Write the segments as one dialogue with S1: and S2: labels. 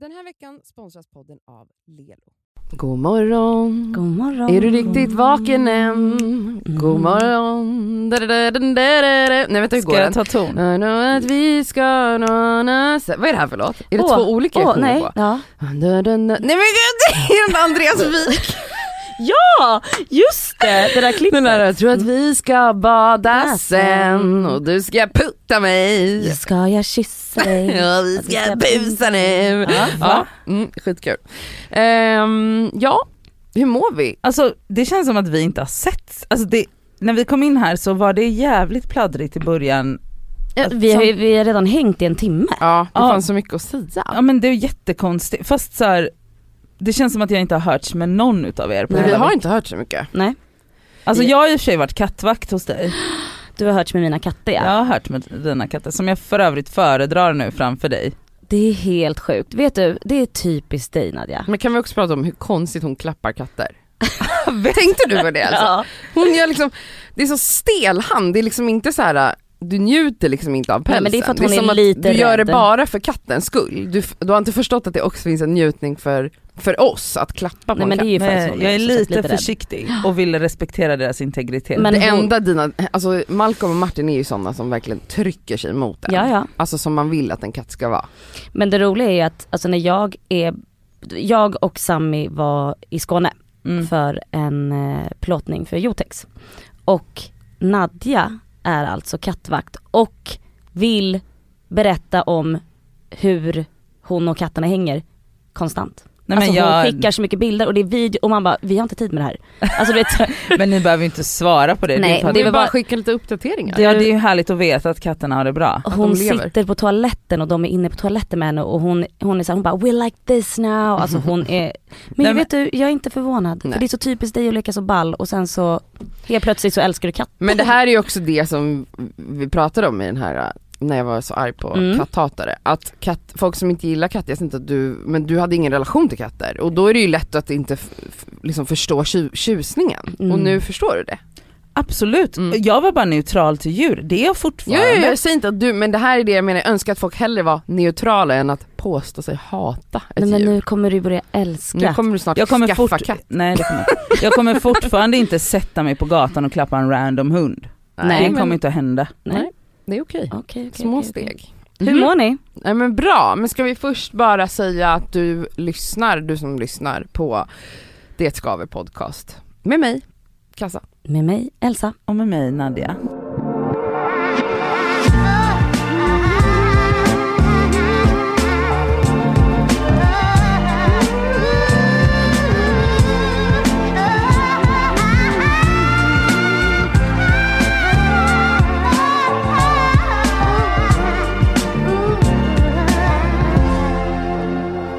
S1: Den här veckan sponsras podden av Lelo.
S2: God morgon.
S3: God morgon.
S2: Är du riktigt vaken ehm, än? God
S3: Mm.
S2: morgon. Da, da, da, da, da, da, da. Nej vänta hur
S3: Ska
S2: går den?
S3: jag ta ton?
S2: I know att vi ska någonstans... Vad är det här för låt? Är det
S3: Åh,
S2: två olika jag
S3: Åh,
S2: sjunger
S3: nej.
S2: på?
S3: Ja.
S2: Da, da, da. Nej men gud, det är en Andreas Wijk.
S3: ja, just det. Det där klippet.
S2: Den där, jag tror att vi ska bada sen
S3: Bada sen.
S2: och du ska putta mig.
S3: Ska jag kyssa dig?
S2: Ja vi ska busa nu.
S3: Ja,
S2: Ja,
S3: va?
S2: mm, skitkul. Ehm, ja, hur mår vi?
S3: Alltså det känns som att vi inte har sett. Alltså, det, när vi kom in här så var det jävligt pladdrigt i början.
S4: Ja, vi, har ju, vi har redan hängt i en timme.
S2: Ja, det
S3: Ja.
S2: fanns så mycket att säga.
S3: Ja men det är jättekonstigt. Fast så här, det känns som att jag inte har hörts med någon utav er. På
S2: Men vi
S3: hela
S2: har
S3: veckan.
S2: inte hört så mycket.
S4: Nej,
S3: Alltså jag har i och för sig varit kattvakt hos dig.
S4: du har hört med mina katter ja.
S3: Jag har hört med dina katter som jag för övrigt föredrar nu framför dig.
S4: Det är helt sjukt. Vet du, det är typiskt dig Nadja.
S2: Men kan vi också prata om hur konstigt hon klappar katter? Tänkte du på det alltså?
S4: Ja.
S2: Hon gör liksom, det är så stel hand, det är liksom inte så här. Du njuter liksom inte av
S4: Nej,
S2: pälsen.
S4: men det är för att hon är
S2: som
S4: lite
S2: du gör det
S4: rädd.
S2: bara för kattens skull. Du, f- du har inte förstått att det också finns en njutning för, för oss att klappa på
S4: Nej
S2: en
S4: men det
S2: katt.
S4: är ju faktiskt
S3: Men
S4: hon
S3: jag är
S4: också, så att
S3: lite
S4: rädd.
S3: försiktig och vill respektera deras integritet.
S4: Men
S2: Det
S4: hon-
S2: enda dina, alltså Malcolm och Martin är ju sådana som verkligen trycker sig mot en.
S4: Ja ja.
S2: Alltså som man vill att en katt ska vara.
S4: Men det roliga är ju att alltså, när jag är, jag och Sammy var i Skåne
S3: Mm.
S4: för en eh, plåtning för Jotex. Och Nadja är alltså kattvakt och vill berätta om hur hon och katterna hänger konstant.
S3: Nej,
S4: alltså
S3: men,
S4: hon
S3: jag,
S4: skickar så mycket bilder och det är video och man bara, vi har inte tid med det här. Alltså du vet,
S3: men ni behöver ju inte svara på det.
S4: Nej,
S3: det är för att-
S2: Det är
S4: väl
S2: bara
S4: bara-
S2: att skicka lite uppdateringar.
S3: Ja det är ju härligt att veta att katterna har det bra.
S2: de
S4: hon
S2: lever.
S4: sitter på toaletten och de är inne på toaletten med henne och hon, hon är såhär, hon bara we're like this now. Alltså hon är, men
S3: Nej,
S4: jag vet du, jag är inte förvånad.
S2: Nej.
S4: För det är så typiskt dig att leka så ball och sen så helt plötsligt så älskar du katt.
S2: Men det här är ju också det som vi pratade om i den här, äh, när jag var så arg på
S4: Mm.
S2: katthatare. Att katt, folk som inte gillar katter, jag ser inte att du, men du hade ingen relation till katter. Och då är det ju lätt att inte f- f- liksom förstå tju- tjusningen.
S4: Mm.
S2: Och nu förstår du det.
S3: Absolut,
S2: Mm.
S3: jag var bara neutral till djur. Det är jag
S2: Jo,
S3: fortfarande.
S2: jo, jag säger inte att du, men det här är det jag menar, jag önskar att folk hellre var neutrala än att påstå sig hata ett
S4: Nej, men
S2: djur.
S4: nu kommer du börja älska.
S2: Nu kommer du snart
S3: Jag kommer,
S2: skaffa
S3: fort...
S2: katt.
S3: Nej, det kommer... jag- jag kommer fortfarande inte sätta mig på gatan och klappa en random hund.
S4: Nej,
S3: det
S2: men
S3: kommer inte att hända.
S4: Nej.
S2: det är okej.
S4: Okej, okej,
S2: Små
S4: okej, okej.
S2: steg.
S3: Mhm.
S4: Hur mår ni?
S2: Nej men bra, men ska vi först bara säga att du lyssnar, du som lyssnar på Det Skaver Podcast med mig, Kassa.
S4: Med mig, Elsa.
S3: Och med mig Nadja.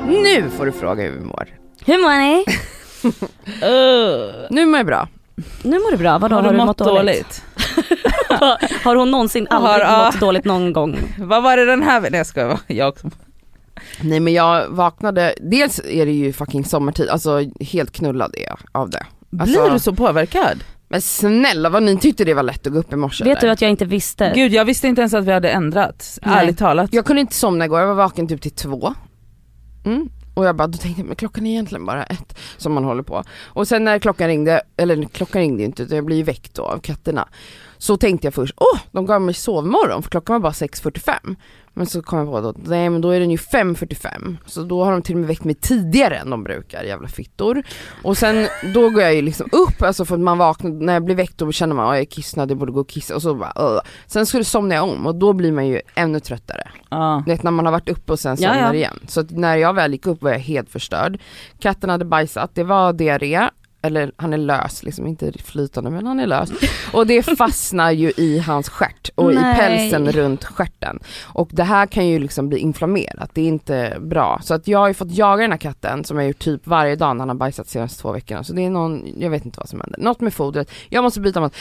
S2: Nu får du fråga hur vi mår.
S4: Hur mår ni?
S2: Nu mår jag bra.
S4: Nu mår du bra, vadå
S3: har, du mått dåligt?
S4: har hon någonsin aldrig
S3: Har- ja.
S4: mått dåligt någon gång?
S3: Vad var det den här veckan? Nej, Jag skojar, jag också.
S2: Nej men jag vaknade, dels är det ju fucking sommartid, alltså helt knullad är jag av det. Alltså-
S3: Blir du så påverkad?
S2: Men snälla vad ni tyckte det var lätt att gå upp i morse
S4: Vet du
S2: eller?
S4: att jag inte visste?
S3: Gud jag visste inte ens att vi hade ändrat,
S2: Nej.
S3: ärligt talat.
S2: Jag kunde inte somna igår, jag var vaken typ till två. Mm. Och jag bara, då tänkte jag, men klockan är egentligen bara ett som man håller på. Och sen när klockan ringde, eller klockan ringde ju inte utan jag blev ju väckt då av katterna. Så tänkte jag först, åh de gav mig sovmorgon för klockan var bara 6.45. Men så kom jag på då, nej men då är den ju 5.45. Så då har de till och med väckt mig tidigare än de brukar, jävla fittor. Och sen då går jag ju liksom upp, alltså för att man vaknar, när jag blir väckt då känner man, ja jag är kissnödig, jag borde gå och kissa. Och så bara, Åh. Sen skulle somna jag om och då blir man ju ännu tröttare.
S3: Ja.
S2: Du vet när man har varit uppe och sen
S4: Ja,
S2: somnar
S4: ja.
S2: igen. Så att när jag väl gick upp var jag helt förstörd. Katten hade bajsat, det var diarré, eller han är lös, liksom inte flytande men han är lös. Och det fastnar ju i hans stjärt och i
S4: Nej.
S2: pälsen runt stjärten. Och det här kan ju liksom bli inflammerat, det är inte bra. Så att jag har ju fått jaga den här katten som jag har gjort typ varje dag när han har bajsat de senaste två veckorna. Så det är någon, jag vet inte vad som händer. Något med fodret, jag måste byta mat.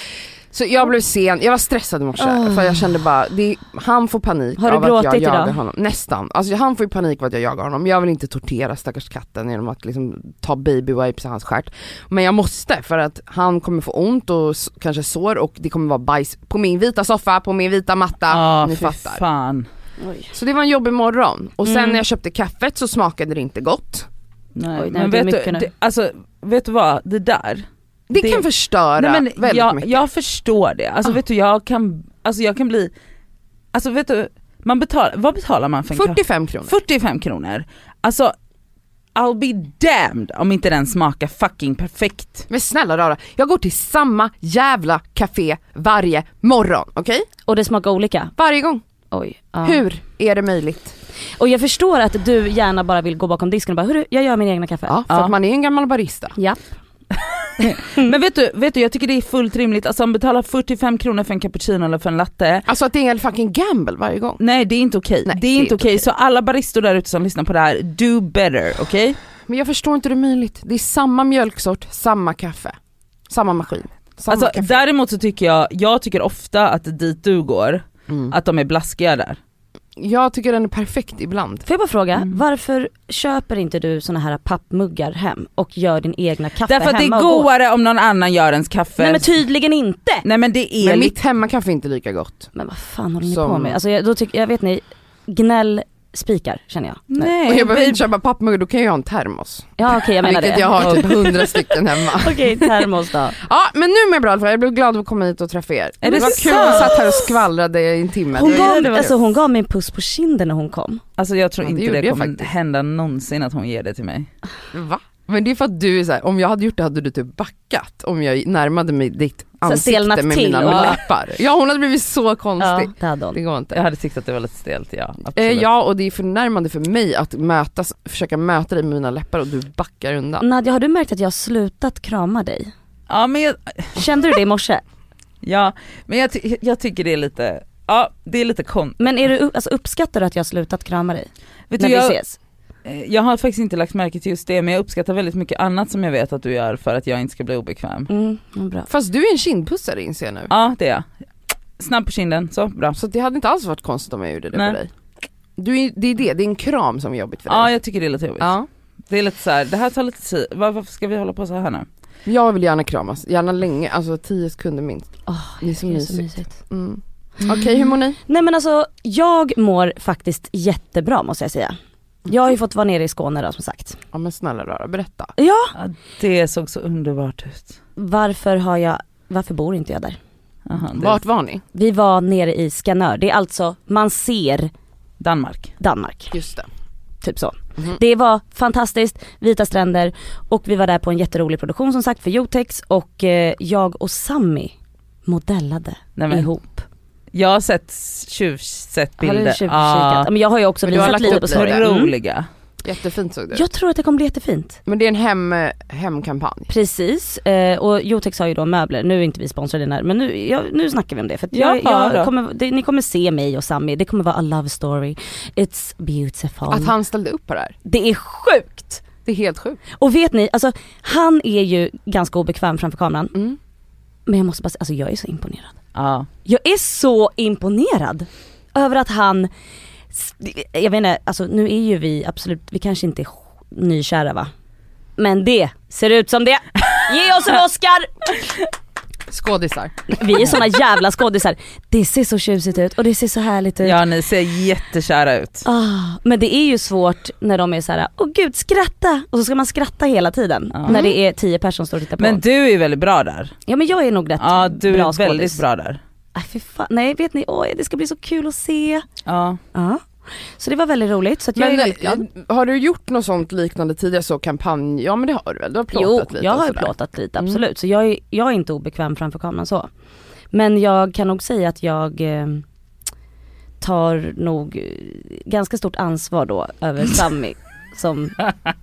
S2: Så jag blev sen, jag var stressad i morse
S4: Ah.
S2: för jag kände bara, det, han får panik
S4: Har du
S2: av att jag
S4: gråtit
S2: jagar
S4: idag?
S2: honom. Nästan. Alltså han får ju panik av att jag jagar honom. Jag vill inte tortera stackars katten genom att liksom ta babywipes i hans stjärt. Men jag måste för att han kommer få ont och s- kanske sår och det kommer vara bajs på min vita soffa, på min vita matta.
S3: Ja,
S2: Ni
S3: Ah, fy
S2: fattar.
S3: fan.
S4: Oj.
S2: Så det var en jobbig morgon. Och sen
S3: Mm.
S2: när jag köpte kaffet så smakade det inte gott.
S3: Nej,
S4: Oj, nej,
S3: men
S4: det är
S3: vet du,
S4: mycket nu.
S3: det, alltså, vet du vad, det där.
S2: Det,
S3: Det-
S2: kan förstöra
S3: Nej, men
S2: väldigt
S3: jag,
S2: mycket.
S3: jag förstår det, alltså
S2: Ah.
S3: vet du jag kan, alltså jag kan bli, alltså vet du, man betalar, vad betalar man för en kaffe?
S2: 45 kronor.
S3: 45 kronor. Alltså I'll be damned om inte den smakar fucking perfekt.
S2: Men snälla rara, jag går till samma jävla café varje morgon. Okej?
S4: Och det smakar olika.
S2: Varje gång.
S4: Oj. ja.
S2: Hur är det möjligt?
S4: Och jag förstår att du gärna bara vill gå bakom disken och bara, hörru jag gör min egna kaffe.
S2: Ja, för
S3: Ja.
S2: att man är en gammal barista.
S4: Japp.
S2: Mm.
S3: Men vet du, vet du, jag tycker det är fullt rimligt, alltså om man betalar 45 kronor för en cappuccino eller för en latte,
S2: Alltså att det är en fucking gamble varje gång.
S3: nej det är inte okej.
S2: Nej,
S3: Det är inte okej, så alla baristor där ute som lyssnar på det här, do better, okej?
S2: Men jag förstår inte hur det är möjligt. Det är samma mjölksort, samma kaffe, samma maskin. Samma
S3: Alltså
S2: kaffe.
S3: däremot så tycker jag, jag tycker ofta att dit du går,
S2: Mm.
S3: att de är blaskiga där.
S2: Jag tycker den är perfekt ibland.
S4: Får jag bara fråga,
S3: Mm.
S4: varför köper inte du såna här pappmuggar hem och gör din egna kaffe
S3: Därför att det
S4: hemma
S3: är
S4: och går?
S3: godare om någon annan gör ens kaffe.
S4: Nej men tydligen inte!
S3: Nej, men det är
S2: typ- Men
S3: lite...
S2: mitt hemmakaffe är inte lika gott.
S4: Men vad fan håller ni
S2: Som-
S4: på med? Alltså jag, då tycker, jag vet ni, gnäll spikar känner jag.
S2: Och
S3: Nej,
S2: jag behöver
S3: vi-
S2: inte köpa pappmuggar, då kan jag ha en termos.
S4: Ja okej jag menar
S2: vilket
S4: det.
S2: jag har typ hundra stycken hemma.
S4: Okej termos då.
S2: Ja men nu är jag bra i alla fall. jag blev glad att komma hit och träffa er. det
S3: Är det
S2: var kul att
S3: sant?
S2: vi satt här och skvallrade i en timme.
S4: Hon
S2: Det-
S4: gav,
S2: det var
S4: alltså
S2: kul.
S4: hon gav mig en puss på kinden när hon kom.
S3: Alltså jag tror
S2: Ja, det
S3: inte
S2: gjorde
S3: det,
S2: jag
S3: kommer
S2: faktiskt.
S3: hända någonsin att hon ger det till mig.
S2: Va? Men det är för att du är så här, om jag hade gjort det hade du typ backat om jag närmade mig ditt
S4: stelnat
S2: ansikte med
S4: till
S2: mina
S4: och-
S2: läppar. Ja hon hade blivit så
S4: Ja
S2: konstig.
S4: det hade hon.
S2: Det går inte.
S3: Jag hade tyckt att det var lite stelt ja.
S2: Eh,
S3: absolut.
S2: ja och det är förnärmande för mig att mötas, försöka möta dig med mina läppar och du backar undan.
S4: Nadja har du märkt att jag har slutat krama dig?
S3: Ja men jag,
S4: Kände du det i morse?
S3: ja, men jag, ty- jag tycker det är lite, ja det är lite kon.
S4: Men är du, alltså, uppskattar du att jag har slutat krama dig?
S3: Vet
S4: när
S3: du,
S4: vi
S3: jag,
S4: ses?
S3: eh, jag har faktiskt inte lagt märke till just det men jag uppskattar väldigt mycket annat som jag vet att du gör för att jag inte ska bli obekväm.
S4: Mm, vad bra.
S2: Fast du är en kindpussare inser jag nu.
S3: Ja det är jag. Snabb på kinden, så bra.
S2: Så det hade inte alls varit konstigt om jag gjorde det
S3: Nej.
S2: på dig. Du är, det är det, det är en kram som är jobbigt för dig.
S3: Ja jag tycker det är lite jobbigt.
S2: Ja.
S3: Det är lite så här, det här tar lite tid, Var- varför ska vi hålla på så här nu?
S2: Jag vill gärna kramas, gärna länge, alltså 10 sekunder minst.
S4: Åh,
S2: Det är så
S4: det är så
S2: mysigt.
S4: mysigt.
S2: Mm. Okej hur mår ni?
S4: Nej men alltså jag mår faktiskt jättebra måste jag säga. Jag har ju fått vara nere i Skåne då som sagt.
S2: Ja men snälla rara, berätta.
S3: Ja, det såg så underbart ut.
S4: Varför har jag, varför bor inte jag där?
S3: Aha, det
S2: Vart var ni?
S4: Vi var nere i Skanör, det är alltså, man ser
S3: Danmark.
S4: Danmark,
S2: Just det.
S4: typ så.
S2: Mhm.
S4: Det var fantastiskt, vita stränder och vi var där på en jätterolig produktion som sagt för Jotex och eh, jag och Sammy modellade
S3: Nej, men,
S4: ihop.
S3: jag har sett tjuvsett
S4: Har du
S3: bilder.
S4: tjuvkikat? Ja, Men jag har ju också
S2: Men du har
S4: visat
S2: lagt
S4: lite
S2: upp
S4: på
S2: det.
S4: story. Mm.
S3: Otroliga.
S2: Jättefint såg det ut.
S4: Jag tror att det kommer bli jättefint.
S2: Men det är en hem, eh, hemkampanj.
S4: Precis, eh, och Jotex har ju då möbler, nu är inte vi sponsrade den här men nu, jag, nu snackar vi om det för att jag,
S3: Ja,
S4: jag
S3: då.
S4: kommer, det, ni kommer se mig och Sami, det kommer vara a love story, it's beautiful.
S2: Att han ställde upp på det här,
S4: Det är sjukt!
S2: det är helt sjukt.
S4: Och vet ni, alltså han är ju ganska obekväm framför kameran
S2: Mm.
S4: men jag måste bara säga, alltså jag är så imponerad.
S3: Ja.
S4: Jag är så imponerad över att han, jag vet inte, alltså nu är ju vi absolut, vi kanske inte är nykära va? Men det ser ut som det. Ge oss en Oscar!
S2: Skådisar.
S4: Vi är såna jävla skådisar. Det ser så tjusigt ut och det ser så härligt ut.
S3: ja ni ser jättekära ut.
S4: Ah, men det är ju svårt när de är så här: åh gud skratta! Och så ska man skratta hela tiden
S3: Ja. Mm.
S4: när det är tio personer som står och tittar på.
S3: Men du är väldigt bra där.
S4: ja men jag är nog rätt
S3: Ja du
S4: bra
S3: är väldigt
S4: skådis.
S3: bra där.
S4: Ah, fy fan. Nej vet ni, åh, det ska bli så kul att se.
S3: Ja.
S4: Ja. Så det var väldigt roligt så att jag
S2: Men
S4: är väldigt glad.
S2: eh, har du gjort något sånt liknande tidigare, så kampanj, ja men det har du väl? Du har
S4: Jo,
S2: plåtat lite
S4: jag
S2: och
S4: har ju
S2: sådär.
S4: plåtat lite Mm. absolut. Så jag är, jag är inte obekväm framför kameran så. Men jag kan nog säga att jag eh, tar nog eh, ganska stort ansvar då över Sammy. Som,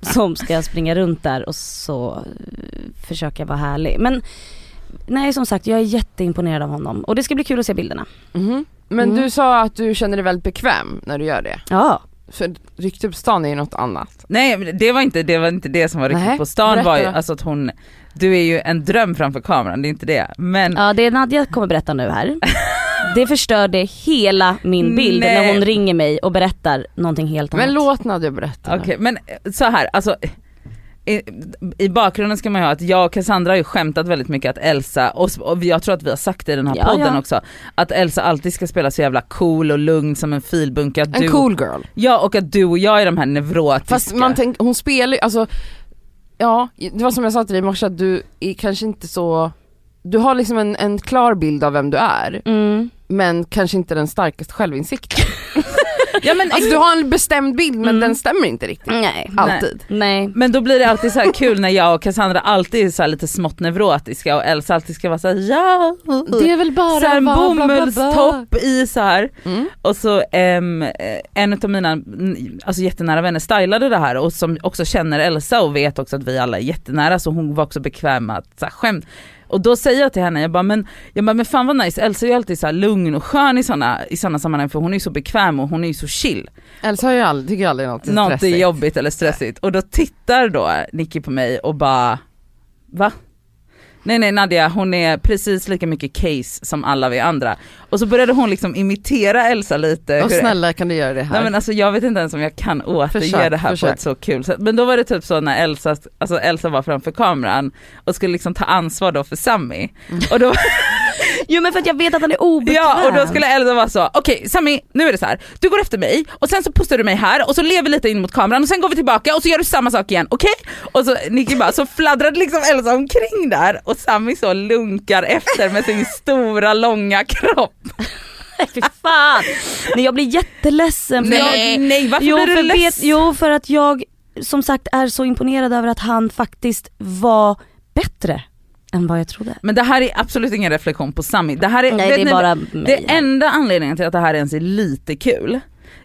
S4: som ska springa runt där och så eh, försöka vara härlig. Men nej som sagt jag är jätteimponerad av honom och det ska bli kul att se bilderna.
S2: Mhm. Men
S4: Mm.
S2: du sa att du känner dig väldigt bekväm när du gör det.
S4: Ja,
S2: För rykte på stan är ju något annat.
S3: Nej men det var inte det, var inte det som var
S2: Nej,
S3: riktigt på stan var ju
S2: berätta.
S3: alltså att hon, du är ju en dröm framför kameran, det är inte det. Men
S4: ja det Nadja kommer berätta nu här. Det förstörde hela min bild när
S3: Nej.
S4: hon ringer mig och berättar någonting helt annat.
S2: Men låt Nadja berätta
S3: Okej
S2: nu.
S3: men eh, så här, alltså eh, i, i bakgrunden ska man ju ha att jag och Cassandra har ju skämtat väldigt mycket att Elsa, och, s- och jag tror att vi har sagt det i den här
S4: Ja,
S3: podden
S4: ja.
S3: också, att Elsa alltid ska spela så jävla cool och lugn som en filbunke. Att
S2: En
S3: du,
S2: cool girl.
S3: Ja och att du och jag är de här neurotiska.
S2: Fast man tänk, hon spelar ju, alltså, ja det var som jag sa till dig i morse att du är kanske inte så, du har liksom en, en klar bild av vem du är
S4: Mm.
S2: men kanske inte den starkaste självinsikten.
S3: ja, men,
S2: Alltså du har en bestämd bild men
S4: Mm.
S2: den stämmer inte riktigt.
S4: Nej.
S2: Alltid.
S4: Nej.
S3: men då blir det alltid så här kul när jag och Cassandra alltid är så här lite smått neurotiska och Elsa alltid ska vara så här ja.
S2: är väl bara
S3: så här en bomullstopp i så här
S2: Mm.
S3: och så ehm, eh, en av mina mm, alltså, jättenära vänner stylade det här och som också känner Elsa och vet också att vi alla är jättenära så hon var också bekväm med att så här, skämt. Och då säger jag till henne, jag bara men, jag bara, men fan vad nice, Elsa är ju alltid så här lugn och skön i sådana i såna sammanhang för hon är ju så bekväm och hon är ju så chill.
S2: Elsa har ju aldrig, tycker aldrig något är
S3: Något är
S2: stressigt.
S3: jobbigt eller stressigt och då tittar då Nicky på mig och bara va? Nej nej Nadia hon är precis lika mycket case som alla vi andra. Och så började hon liksom imitera Elsa lite.
S2: Och
S3: hur-
S2: snälla kan du göra det här?
S3: Nej men alltså jag vet inte ens om jag kan återge
S2: Försök,
S3: det här på
S2: försök.
S3: ett så kul sätt. Men då var det typ så när Elsa, alltså Elsa var framför kameran och skulle liksom ta ansvar då för Sammy.
S4: Mm.
S3: Och då,
S4: Jo men för att jag vet att han är obekväm.
S3: ja och då skulle Elsa vara så, okej Sammy nu är det så här. du går efter mig och sen så pussar du mig här och så lever lite in mot kameran och sen går vi tillbaka och så gör du samma sak igen, okej? Och så Nicky bara, så fladdrade liksom Elsa omkring där och Sammy så lunkar efter med sin stora långa kropp.
S4: Fy fan. Nej jag blir jätteledsen. för jag-
S3: Nej, nej varför
S4: jo,
S3: blir du
S4: för vet-
S3: ledsen?
S4: Jo för att jag som sagt är så imponerad över att han faktiskt var bättre än vad jag trodde.
S3: Men det här är absolut ingen reflektion på Sami. Det här är,
S4: Nej
S3: vet
S4: det är
S3: ni-
S4: bara mig.
S3: det enda anledningen till att det här ens är lite kul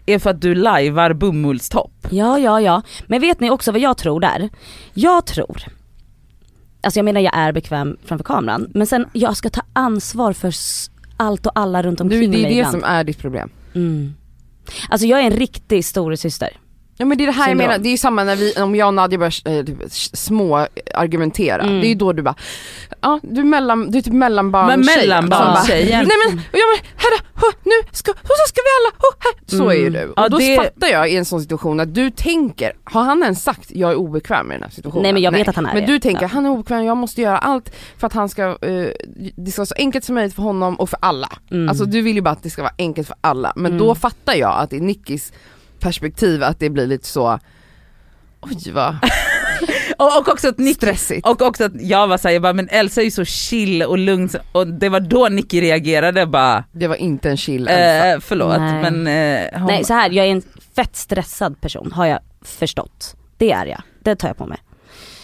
S3: är för att du lajvar bomullstopp.
S4: Ja, ja, ja. Men vet ni också vad jag tror där? Jag tror, alltså jag menar jag är bekväm framför kameran, men sen jag ska ta ansvar för s- allt och alla runt omkring
S2: du, det
S4: mig
S2: är det
S4: ibland.
S2: som är ditt problem.
S4: Mm. Alltså jag är en riktig storasyster.
S2: Ja men det är det här jag
S4: Syndrom.
S2: menar, det är ju samma när vi, om jag och Nadja börjar eh, typ, s- små argumentera.
S4: Mm.
S2: Det är ju då du bara, ja du är, mellan, du är typ mellanbarn
S3: Men
S2: tjej.
S3: mellanbarntjejen.
S2: Nej men, och jag men herre, hå, nu ska, och så ska vi alla, hå, här. Så
S4: Mm.
S2: är ju du. Och
S3: Ja,
S2: då
S3: det-
S2: fattar jag i en sån situation att du tänker, har han ens sagt jag är obekväm i den här situationen?
S4: Nej, men jag vet att han är
S2: Men
S4: det.
S2: du tänker,
S4: Ja.
S2: han är obekväm, jag måste göra allt för att han ska, eh, det ska vara så enkelt som möjligt för honom och för alla.
S4: Mm.
S2: Alltså du vill ju bara att det ska vara enkelt för alla, men
S4: Mm.
S2: då fattar jag att i Nickis perspektiv att det blir lite så, oj vad
S3: Och, och också att Nicky
S2: stressigt.
S3: och också att jag var såhär, jag bara men Elsa är ju så chill och lugn så- och det var då Nicky reagerade bara,
S2: Det var inte en chill Elsa.
S3: eh, förlåt
S4: Nej.
S3: men eh, hon,
S4: Nej så här, jag är en fett stressad person har jag förstått. Det är jag, det tar jag på mig.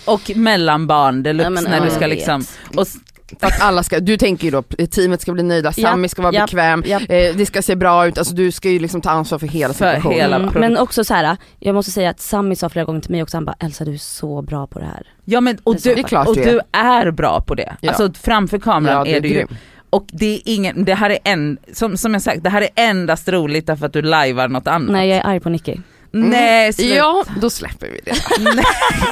S3: och mellanbarn deluxe
S4: Ja, men,
S3: när
S4: ja,
S3: du
S4: jag
S3: ska
S4: vet.
S3: liksom, och, s-
S2: För att alla ska, du tänker ju då teamet ska bli nöjda,
S4: Ja,
S2: Sammy ska vara
S4: ja,
S2: bekväm,
S4: ja.
S2: eh, det ska se bra ut, alltså du ska ju liksom ta ansvar för hela
S3: För
S2: situationen.
S3: hela-
S4: Mm,
S3: produkten.
S4: men också så här, jag måste säga att Sammy sa flera gånger till mig också, han bara Elsa du är så bra på det här.
S3: ja men och
S4: Det är
S3: du,
S2: klart
S3: och
S2: du är.
S3: du är bra på det.
S2: Ja.
S3: Alltså framför kameran
S2: Ja, det
S3: är du ju
S2: grym.
S3: Och det är ingen, det här är en, som, som jag sagt, det här är endast roligt därför att du lajvar något annat.
S4: Nej jag är arg på Nicky.
S3: Mm. Nej sluta.
S2: Mm. Ja, då släpper vi det.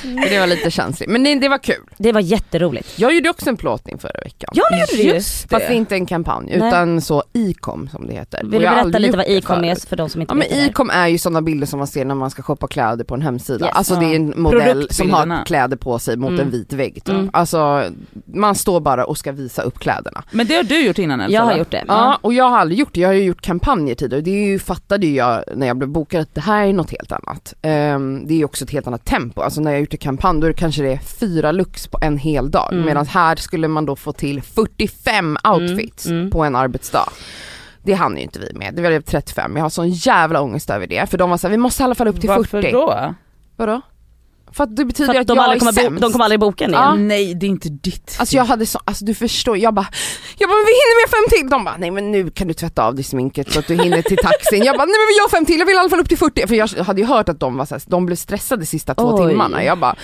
S2: För det var lite känsligt. Men nej, det var kul.
S4: Det var jätteroligt.
S2: Jag gjorde också en plåtning förra veckan.
S4: Ja det gjorde du ju.
S3: Just
S2: Fast
S3: det.
S2: inte en kampanj
S4: Nej.
S2: utan så ICOM som det heter.
S4: Vill
S2: Och
S4: du
S2: jag har
S4: berätta
S2: aldrig
S4: lite
S2: gjort
S4: vad
S2: det
S4: ICOM är
S2: förut.
S4: för de som inte
S2: Ja men
S4: vet vad det är?
S2: ICOM är ju sådana bilder som man ser när man ska shoppa kläder på en hemsida.
S4: Yes.
S2: Alltså det är en modell som
S3: Produktbilderna.
S2: har kläder på sig mot
S4: Mm.
S2: en vit vägg typ.
S4: Mm.
S2: Alltså man står bara och ska visa upp kläderna.
S3: Men det har du gjort innan Elsa
S4: Jag har
S3: va?
S4: gjort det.
S2: alltså.
S4: Mm.
S2: Ja och jag har aldrig gjort det, jag har ju gjort kampanjer tidigare. Det är ju, fattade ju jag när jag blev bokad att det här är något helt annat. Ehm, det är ju också ett helt annat tempo. Alltså när jag har gjort en kampanj då är det kanske det är fyra looks på en hel dag.
S4: Mm.
S2: Medan här skulle man då få till 45 outfits
S4: mm.
S2: på en arbetsdag. Det hann ju inte vi med, det blev 35. Jag har sån jävla ångest över det. För de var såhär, vi måste i alla fall upp till
S3: Varför
S2: 40.
S3: då?
S2: Vadå? För att det betyder
S4: För att
S2: att,
S4: de,
S2: jag
S4: aldrig
S2: är
S4: kommer bo,
S2: sämst.
S4: de kommer aldrig boka en igen.
S2: Ja.
S3: Nej det är inte ditt
S2: Alltså jag hade så, alltså du förstår, jag bara, jag bara men vi hinner med fem till. De bara nej men nu kan du tvätta av dig sminket så att du hinner till taxin. Jag bara nej men vi gör fem till, jag vill i alla fall upp till 40. För jag hade ju hört att de var så här, de blev stressade de sista två
S4: Oj.
S2: timmarna. Jag bara,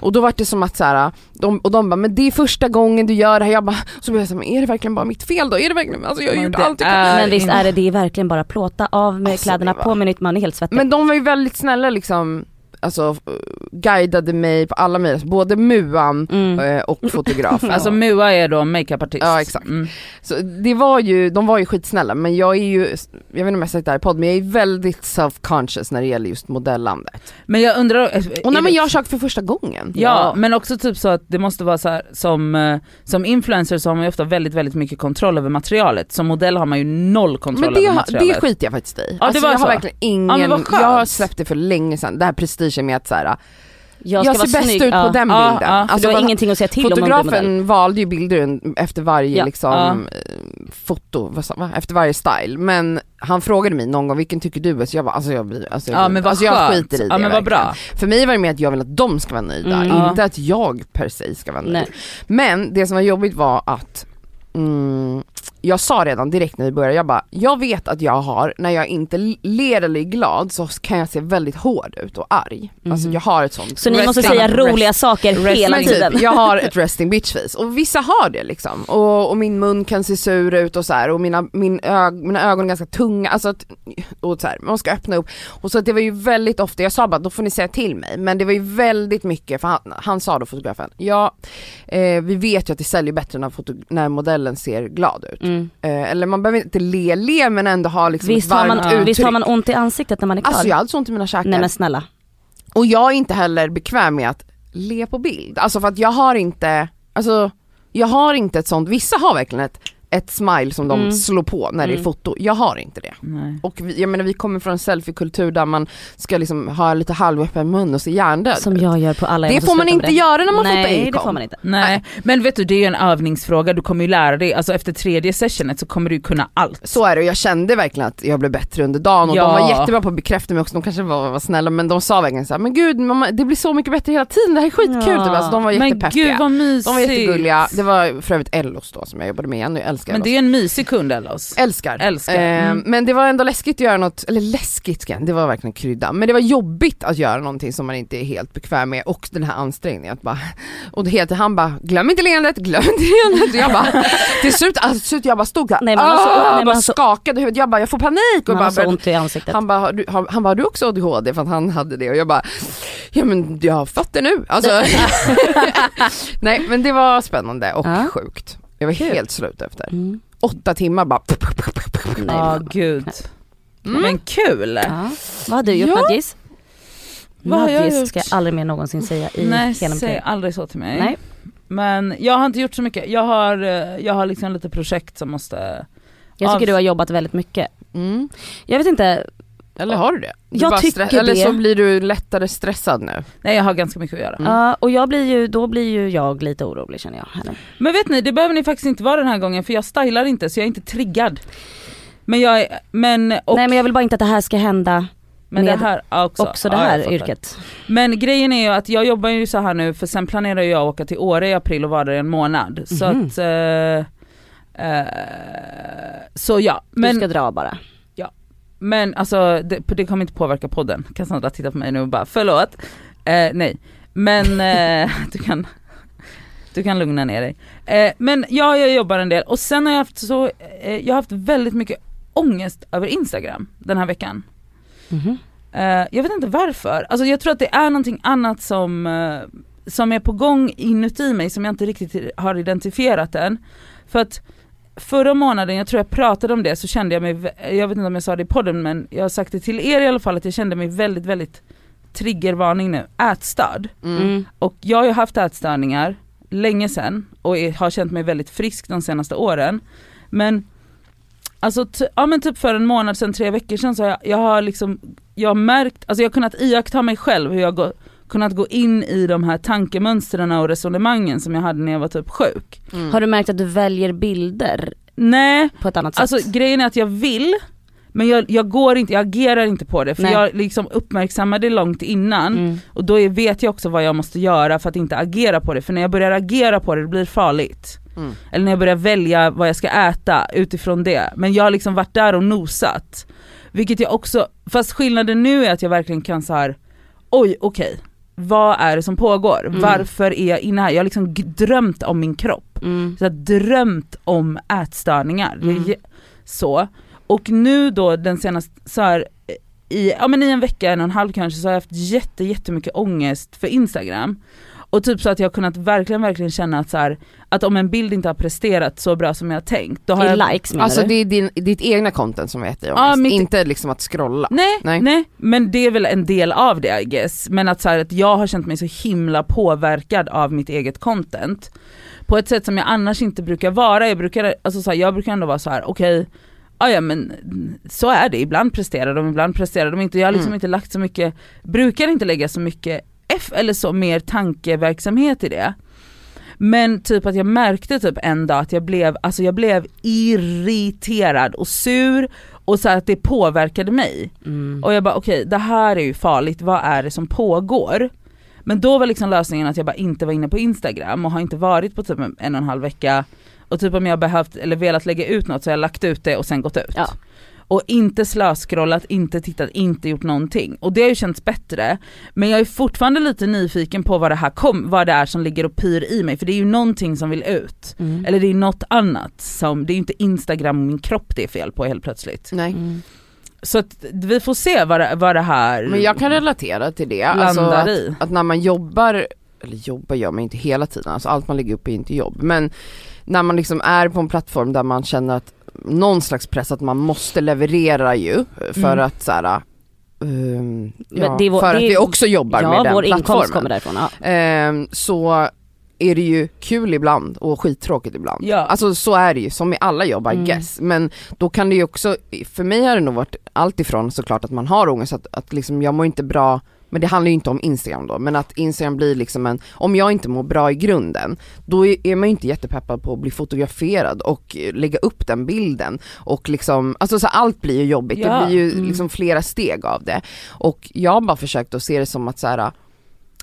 S2: och då var det som att så här, de, och de bara men det är första gången du gör det här. Jag bara, så blev jag så här, men är det verkligen bara mitt fel då? Är det verkligen, alltså jag har
S3: Men
S2: gjort
S3: det
S2: allt jag
S3: är-
S2: kan.
S4: Men visst är det, det är verkligen bara plåta av med
S2: Alltså,
S4: kläderna
S2: det var-
S4: på med nytt, man är helt svettig.
S2: Men de var ju väldigt snälla liksom alltså, eh, guidade mig på alla mina, både muan
S4: Mm.
S2: eh, och fotografen.
S3: Alltså Mua är då makeupartist.
S2: Ja, exakt.
S3: Mm.
S2: Så det var ju, de var ju skitsnälla men jag är ju, jag vet inte om jag har sagt det här i podd men jag är väldigt self-conscious när det gäller just modellandet.
S3: Men jag undrar... eh,
S2: Och när
S3: är det-
S2: man gör saker för första gången.
S3: Ja, men också typ så att det måste vara så här, som, eh, som influencer så har man ju ofta väldigt, väldigt mycket kontroll över materialet. Som modell har man ju noll kontroll
S2: Men det,
S3: över
S2: har- det
S3: materialet.
S2: skiter jag faktiskt i.
S3: det
S2: alltså,
S3: var
S2: jag har
S3: så.
S2: verkligen ingen,
S3: men vad skönt.
S2: jag har släppt det för länge sedan, det här prestigen med att så här,
S4: Jag,
S2: jag,
S4: ska
S2: ser
S4: vara
S2: bäst
S4: snygg.
S2: ut
S4: ja.
S2: på den
S3: Ja,
S2: bilden.
S3: ja,
S4: För
S2: Alltså,
S4: du har
S2: man-
S4: ingenting att säga till om om du är modell.
S2: Fotografen valde ju bilder efter varje
S3: Ja.
S2: liksom,
S3: Ja.
S2: eh, foto, vad sa, va? efter varje style. Men han frågade mig någon gång, vilken tycker du är? Så jag bara, alltså jag blir, alltså, jag,
S3: Ja
S2: blir-
S3: men vad
S2: alltså, jag
S3: skönt.
S2: skiter i det
S3: Ja men vad
S2: verkligen.
S3: bra.
S2: För mig var det mer att jag vill att de ska vara nöjda,
S4: Mm.
S2: inte att jag per se ska vara nöjd.
S4: Nej.
S2: Men det som var jobbigt var att mm, jag sa redan direkt när vi började, jag bara, jag vet att jag har, när jag inte ler eller är glad så kan jag se väldigt hård ut och arg. Alltså
S3: Mm.
S4: Mhm.
S2: jag har ett sånt.
S4: Så ni måste
S2: resting-
S4: säga roliga saker
S3: rest-
S4: hela
S2: men
S4: tiden.
S2: Typ, jag har ett resting bitch face och vissa har det liksom. Och, och min mun kan se sur ut och så här och mina, min ög, mina ögon är ganska tunga. Alltså att, och så här, man ska öppna upp. Och så att det var ju väldigt ofta, jag sa bara då får ni säga till mig. Men det var ju väldigt mycket, för han, han sa då fotografen, ja eh, vi vet ju att det säljer bättre när, foto, när modellen ser glad ut.
S4: Mm.
S2: Eh, eller man behöver inte le, le men ändå ha liksom
S4: Visst,
S2: ett
S4: har
S2: varmt
S4: man,
S2: uttryck.
S4: visst har man ont i ansiktet när man är klar?
S2: Alltså jag har alltså ont i mina käkar.
S4: Nej men snälla.
S2: Och jag är inte heller bekväm med att le på bild. Alltså för att jag har inte, alltså jag har inte ett sånt, vissa har verkligen ett, ett smile som de
S4: Mm.
S2: slår på när det är
S4: Mm.
S2: foto. Jag har inte det.
S3: Nej.
S2: Och vi, jag menar vi kommer från en selfiekultur där man ska liksom ha lite halvöppen mun och se hjärndöd
S4: Som
S2: ut.
S4: jag gör på alla jag
S2: Det
S4: måste
S2: får man
S4: sluta med
S2: inte göra när man fotar
S4: Nej det
S2: Acon.
S4: får man inte.
S3: Nej. Men vet du det är ju en övningsfråga, du kommer ju lära dig, alltså efter tredje sessionet så kommer du kunna allt.
S2: Så är det och jag kände verkligen att jag blev bättre under dagen och
S3: Ja.
S2: de var jättebra på att bekräfta mig också, de kanske var, var snälla men de sa verkligen såhär, men gud mamma, det blir så mycket bättre hela tiden, det här är skitkul.
S4: Ja.
S2: Typ. Alltså, de var
S3: Men
S2: jättepeppiga.
S3: gud vad mysigt.
S2: De var jättegulliga, det var för övrigt Ellos då som jag jobbade med, jag älskar
S3: Men
S2: Ellos.
S3: det är en mysig kund Ellos.
S2: Älskar.
S3: Älskar.
S2: Eh,
S3: Mm.
S2: Men det var ändå läskigt att göra något, eller läskigt, ska jag- det var verkligen krydda, men det var jobbigt att göra någonting som man inte är helt bekväm med och den här ansträngningen att bara, och det heter han bara glöm inte leendet, glöm inte leendet. Och jag bara, till slut, alltså, till slut jag bara stod där,
S4: Nej, man har så-
S2: "Åh!"
S4: nej, man
S2: bara
S4: har så-
S2: skakade huvudet, jag bara jag får panik och
S4: Man
S2: bara
S4: har så
S2: började-
S4: ont i ansiktet.
S2: han bara, har du, har, han bara, har du också ADHD? För att han hade det och jag bara, ja men jag har fått det nu. Alltså, nej men det var spännande och
S4: Ja.
S2: sjukt. Jag var helt slut efter.
S4: Mm.
S2: Åtta timmar bara.
S4: Nej,
S3: Ja
S4: men-
S3: gud. Mm. Men kul.
S4: ja. Vad har du gjort
S3: Ja.
S4: Nadjis?
S3: Vad har jag
S4: Nadjis
S3: gjort?
S4: ska jag aldrig mer någonsin säga i
S3: Nej
S4: hela mitt
S3: säg
S4: liv.
S3: aldrig så till mig.
S4: Nej.
S3: Men jag har inte gjort så mycket, jag har, eh, jag har liksom lite projekt som måste
S4: Jag
S3: Av- Mm.
S4: tycker du har jobbat väldigt mycket.
S2: Mm.
S4: Jag vet inte,
S2: Eller har du det? Du
S4: Jag
S2: bara
S4: tycker
S2: stre- Eller
S4: det.
S2: så blir du lättare stressad nu.
S3: Nej jag har ganska mycket att göra.
S2: Mm.
S4: ja, och jag blir ju, då blir ju jag lite orolig känner jag. här nu.
S3: Men vet ni, det behöver ni faktiskt inte vara den här gången för jag stylar inte så jag är inte triggad. Men jag är, men, och,
S4: Nej men jag vill bara inte att det här ska hända
S3: men det
S4: med-
S3: här ja, också.
S4: också det
S3: Ja, jag
S4: här
S3: fattar.
S4: yrket.
S3: Men grejen är ju att jag jobbar ju så här nu för sen planerar jag att åka till Åre i april och vara där i en månad. Så
S4: Mhm.
S3: att, eh, eh, så ja.
S4: Du
S3: Men,
S4: ska dra bara.
S3: men alltså det, det kommer inte påverka podden. Cassandra tittar på mig nu och bara förlåt. Eh, nej. Men eh, du kan du kan lugna ner dig. Eh, men ja, jag jobbar en del och sen har jag haft så, eh, jag har haft väldigt mycket ångest över Instagram den här veckan.
S4: Mhm.
S3: Eh, jag vet inte varför. Alltså jag tror att det är någonting annat som, eh, som är på gång inuti mig som jag inte riktigt har identifierat än. För att förra månaden, jag tror jag pratade om det, så kände jag mig, vä- jag vet inte om jag sa det i podden men jag har sagt det till er i alla fall att jag kände mig väldigt, väldigt triggervarning nu, ätstörd.
S4: Mm.
S3: Och jag har ju haft ätstörningar länge sedan och är, har känt mig väldigt frisk de senaste åren. Men alltså t- ja, men typ för en månad sedan, tre veckor sedan så har jag, jag har liksom, jag har märkt, alltså jag har kunnat iaktta mig själv hur jag gå, kunnat gå in i de här tankemönstren och resonemangen som jag hade när jag var typ sjuk.
S4: Har du märkt att du väljer bilder
S3: Nej,
S4: på ett annat sätt?
S3: alltså grejen är att jag vill men jag, jag går inte, jag agerar inte på det för
S4: Nej.
S3: jag liksom uppmärksammar det långt innan
S4: mm.
S3: och då är- vet jag också vad jag måste göra för att inte agera på det, för när jag börjar agera på det, det blir farligt.
S2: Mm.
S3: Eller när jag börjar välja vad jag ska äta utifrån det. Men jag har liksom varit där och nosat. Vilket jag också, fast skillnaden nu är att jag verkligen kan så här. oj okej, vad är det som pågår?
S4: Mm.
S3: Varför är jag inne här? Jag har liksom g- drömt om min kropp
S4: Mm.
S3: så här, drömt om ätstörningar. Det är
S4: Mm.
S3: jä- Så. Och nu då den senaste, så här, eh, i, ja, men i en vecka, en och en halv kanske, så har jag haft jätte, jättemycket ångest för Instagram. Och typ så att jag har kunnat verkligen, verkligen känna att, så här, att om en bild inte har presterat så bra som jag har tänkt, då har
S4: I
S3: jag...
S4: likes menar
S2: Alltså
S4: du?
S2: det är din, ditt egna content som äter ångest,
S3: Ja, mitt-
S2: inte liksom att scrolla.
S3: Nej,
S2: Nej.
S3: nej. men det är väl en del av det I guess. Men att, så här, att jag har känt mig så himla påverkad av mitt eget content. På ett sätt som jag annars inte brukar vara. Jag brukar, alltså, så här, jag brukar ändå vara så här: okej, ja, ja men så är det. Ibland presterar de, ibland presterar de inte. Jag har liksom
S2: Mm.
S3: inte lagt så mycket, brukar inte lägga så mycket F eller så mer tankeverksamhet i det. Men typ att jag märkte typ en dag att jag blev, alltså jag blev irriterad och sur och så här att det påverkade mig.
S4: Mm.
S3: Och jag bara okej, det här är ju farligt, vad är det som pågår? Men då var liksom lösningen att jag bara inte var inne på Instagram och har inte varit på typ en och en halv vecka. Och typ om jag behövt eller velat lägga ut något så har jag lagt ut det och sen gått ut.
S4: Ja.
S3: Och inte slöscrollat, inte tittat, inte gjort någonting. Och det har ju känts bättre. Men jag är fortfarande lite nyfiken på vad det här kom, vad det är som ligger och pyr i mig. För det är ju någonting som vill ut.
S4: Mm.
S3: Eller det är något annat som, det är ju inte Instagram och min kropp det är fel på helt plötsligt.
S2: Nej.
S4: Mm.
S3: Så att vi får se vad det, vad det här
S2: Men jag kan relatera till det.
S3: landar
S2: Alltså, att,
S3: i.
S2: att när man jobbar, eller jobbar gör man inte hela tiden, alltså allt man lägger upp är inte jobb. Men när man liksom är på en plattform där man känner att någon slags press att man måste leverera ju för
S3: Mm.
S2: att så här, ehm, ja,
S4: det är vår-
S2: för att
S4: det är-
S2: vi också jobbar med
S4: Ja
S2: den
S4: vår
S2: plattformen.
S4: inkomst kommer därifrån. Ja.
S2: Ehm, så är det ju kul ibland och skittråkigt ibland.
S3: Ja.
S2: Alltså så är det ju, som i alla jobb I
S4: Mm.
S2: guess. Men då kan det ju också, för mig har det nog varit allt ifrån såklart att man har ångest, att, att liksom jag mår inte bra men det handlar ju inte om Instagram då, men att Instagram blir liksom en, om jag inte mår bra i grunden, då är är man ju inte jättepeppad på att bli fotograferad och eh, lägga upp den bilden och liksom, alltså så allt blir ju jobbigt, det
S3: Ja,
S2: blir ju
S4: mm.
S2: liksom flera steg av det. Och jag har bara försökt att se det som att så här,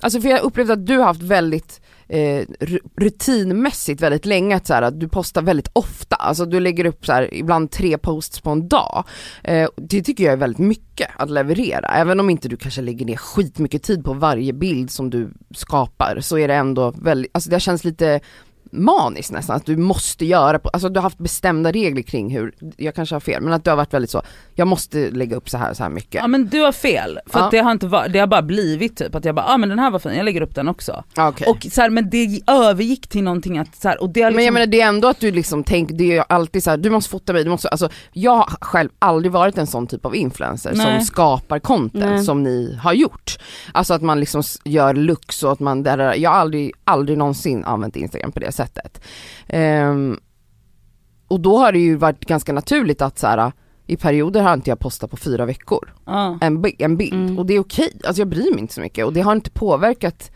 S2: alltså för jag upplevde att du har haft väldigt eh, ru- rutinmässigt väldigt länge att, så här, att du postar väldigt ofta, alltså du lägger upp så här, ibland tre posts på en dag. Eh, det tycker jag är väldigt mycket att leverera, även om inte du kanske lägger ner skitmycket tid på varje bild som du skapar så är det ändå väldigt, alltså det känns lite maniskt nästan, att du måste göra, på, alltså du har haft bestämda regler kring hur, jag kanske har fel, men att du har varit väldigt så, jag måste lägga upp så här så här mycket.
S3: Ja men du har fel, för
S2: Ja.
S3: att det har inte varit, det har bara blivit typ att jag bara, ja ah, men den här var fin, jag lägger upp den också.
S2: Ja, Ah, okej.
S3: Och så här, men det övergick till någonting att så här, och det har liksom,
S2: Men jag menar det är ändå att du liksom tänker, det är ju alltid så här, du måste fota mig, du måste, alltså jag har själv aldrig varit en sån typ av influencer som
S3: Nej.
S2: skapar content
S4: Nej.
S2: som ni har gjort. Alltså att man liksom s- gör looks och att man, där, där- jag har aldrig, aldrig någonsin använt Instagram på det sättet. Ehm, och då har det ju varit ganska naturligt att så här, i perioder har inte jag postat på fyra veckor,
S3: ja.
S2: en, bi- en bild.
S4: Mm.
S2: Och det är okej, alltså jag bryr mig inte så mycket och det har inte påverkat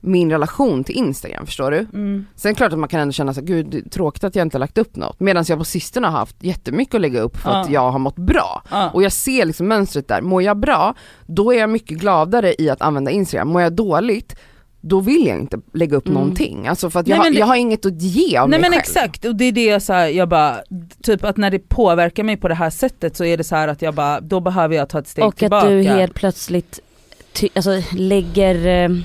S2: min relation till Instagram, förstår du?
S3: Mm.
S2: Sen är det klart att man kan ändå känna så här, gud det är tråkigt att jag inte har lagt upp något. Medan jag på sistone har haft jättemycket att lägga upp för att
S3: Ja.
S2: jag har mått bra.
S3: Ja.
S2: Och jag ser liksom mönstret där, mår jag bra, då är jag mycket gladare i att använda Instagram. Mår jag dåligt, då vill jag inte lägga upp
S4: Mm.
S2: någonting. Alltså för att jag,
S3: Nej,
S2: har,
S3: men det-
S2: jag har inget att ge av
S3: Nej
S2: mig
S3: men
S2: själv.
S3: exakt, och det är det jag så här, jag bara, typ att när det påverkar mig på det här sättet så är det så här att jag bara, då behöver jag ta ett steg
S4: Och
S3: tillbaka.
S4: att du helt plötsligt ty- alltså, lägger eh,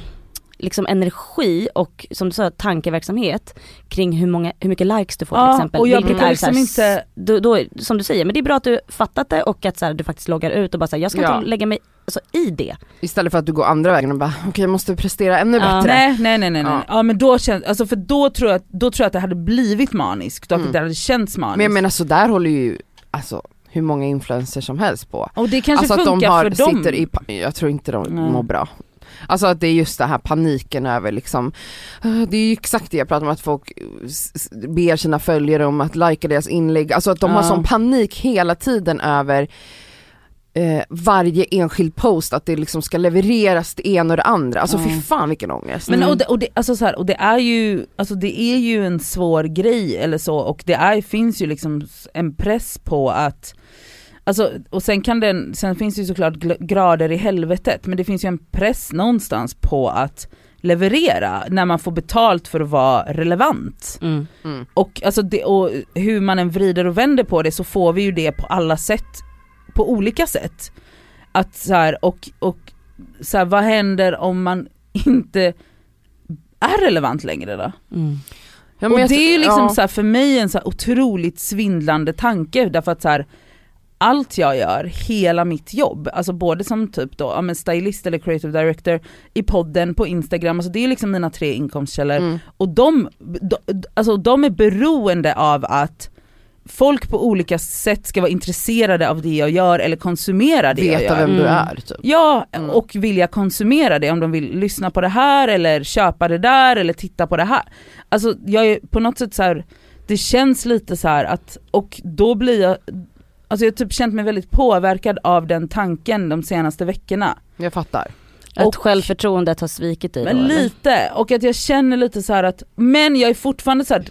S4: liksom energi och som du sa tankeverksamhet kring hur, många, hur mycket likes du får till
S3: Ja,
S4: exempel.
S3: och jag
S4: Vilket
S3: brukar
S4: är så här
S3: liksom
S4: s-
S3: inte-
S4: Då, då, är- som du säger, men det är bra att du fattat det och att så här, du faktiskt loggar ut och bara säger jag ska
S2: Ja.
S4: inte lägga mig alltså, i det.
S2: Istället för att du går andra vägen och bara, okej jag måste prestera ännu
S4: Ja.
S2: bättre.
S3: Nej nej nej nej, nej.
S2: Ja.
S3: Ja. men då känns, alltså för då tror jag, då tror jag att det hade blivit maniskt och att
S2: Mm.
S3: det hade känts maniskt.
S2: Men jag menar sådär håller ju, alltså hur många influencers som helst på.
S3: och det kanske
S2: alltså att de
S3: funkar
S2: har,
S3: för dem.
S2: sitter i, pa- jag tror inte de
S3: Nej.
S2: mår bra. Alltså att det är just den här paniken över liksom, eh, det är ju exakt det jag pratar om att folk eh, s- s- ber sina följare om att likea deras inlägg, alltså att de har
S3: Ja.
S2: sån panik hela tiden över eh, varje enskild post, att det liksom ska levereras det ena och det andra. Alltså
S3: Ja.
S2: fy fan vilken ångest.
S3: Men
S4: Mm.
S3: och, det, och, det, alltså så här, och det är ju, alltså det är ju en svår grej eller så och det är, finns ju liksom s- en press på att Alltså, och sen, kan den, sen finns det ju såklart gl- grader i helvetet men det finns ju en press någonstans på att leverera när man får betalt för att vara relevant.
S2: Mm.
S3: Och, alltså det, och hur man än vrider och vänder på det så får vi ju det på alla sätt, på olika sätt. Att så här, och, och så här, vad händer om man inte är relevant längre då?
S4: Mm.
S2: Ja, men
S3: och
S2: jag-
S3: det är ju liksom
S2: ja.
S3: så här, för mig en så här otroligt svindlande tanke därför att så här, allt jag gör, hela mitt jobb, alltså både som typ då, ja, men stylist eller creative director, i podden, på Instagram, alltså det är liksom mina tre inkomstkällor.
S2: Mm.
S3: Och de, de, alltså de är beroende av att folk på olika sätt ska vara intresserade av det jag gör eller konsumera det jag
S2: Veta
S3: gör.
S2: vem du
S4: Mm.
S2: är typ.
S3: Ja,
S2: Mm.
S3: och vilja konsumera det om de vill lyssna på det här eller köpa det där eller titta på det här. Alltså jag är på något sätt så här. det känns lite så här att, och då blir jag, alltså jag har typ känt mig väldigt påverkad av den tanken de senaste veckorna.
S2: Jag fattar.
S4: Att
S3: Och-
S4: självförtroendet har svikit dig
S3: Men
S4: då, eller?
S3: lite, och att jag känner lite så här att, men jag är fortfarande så här,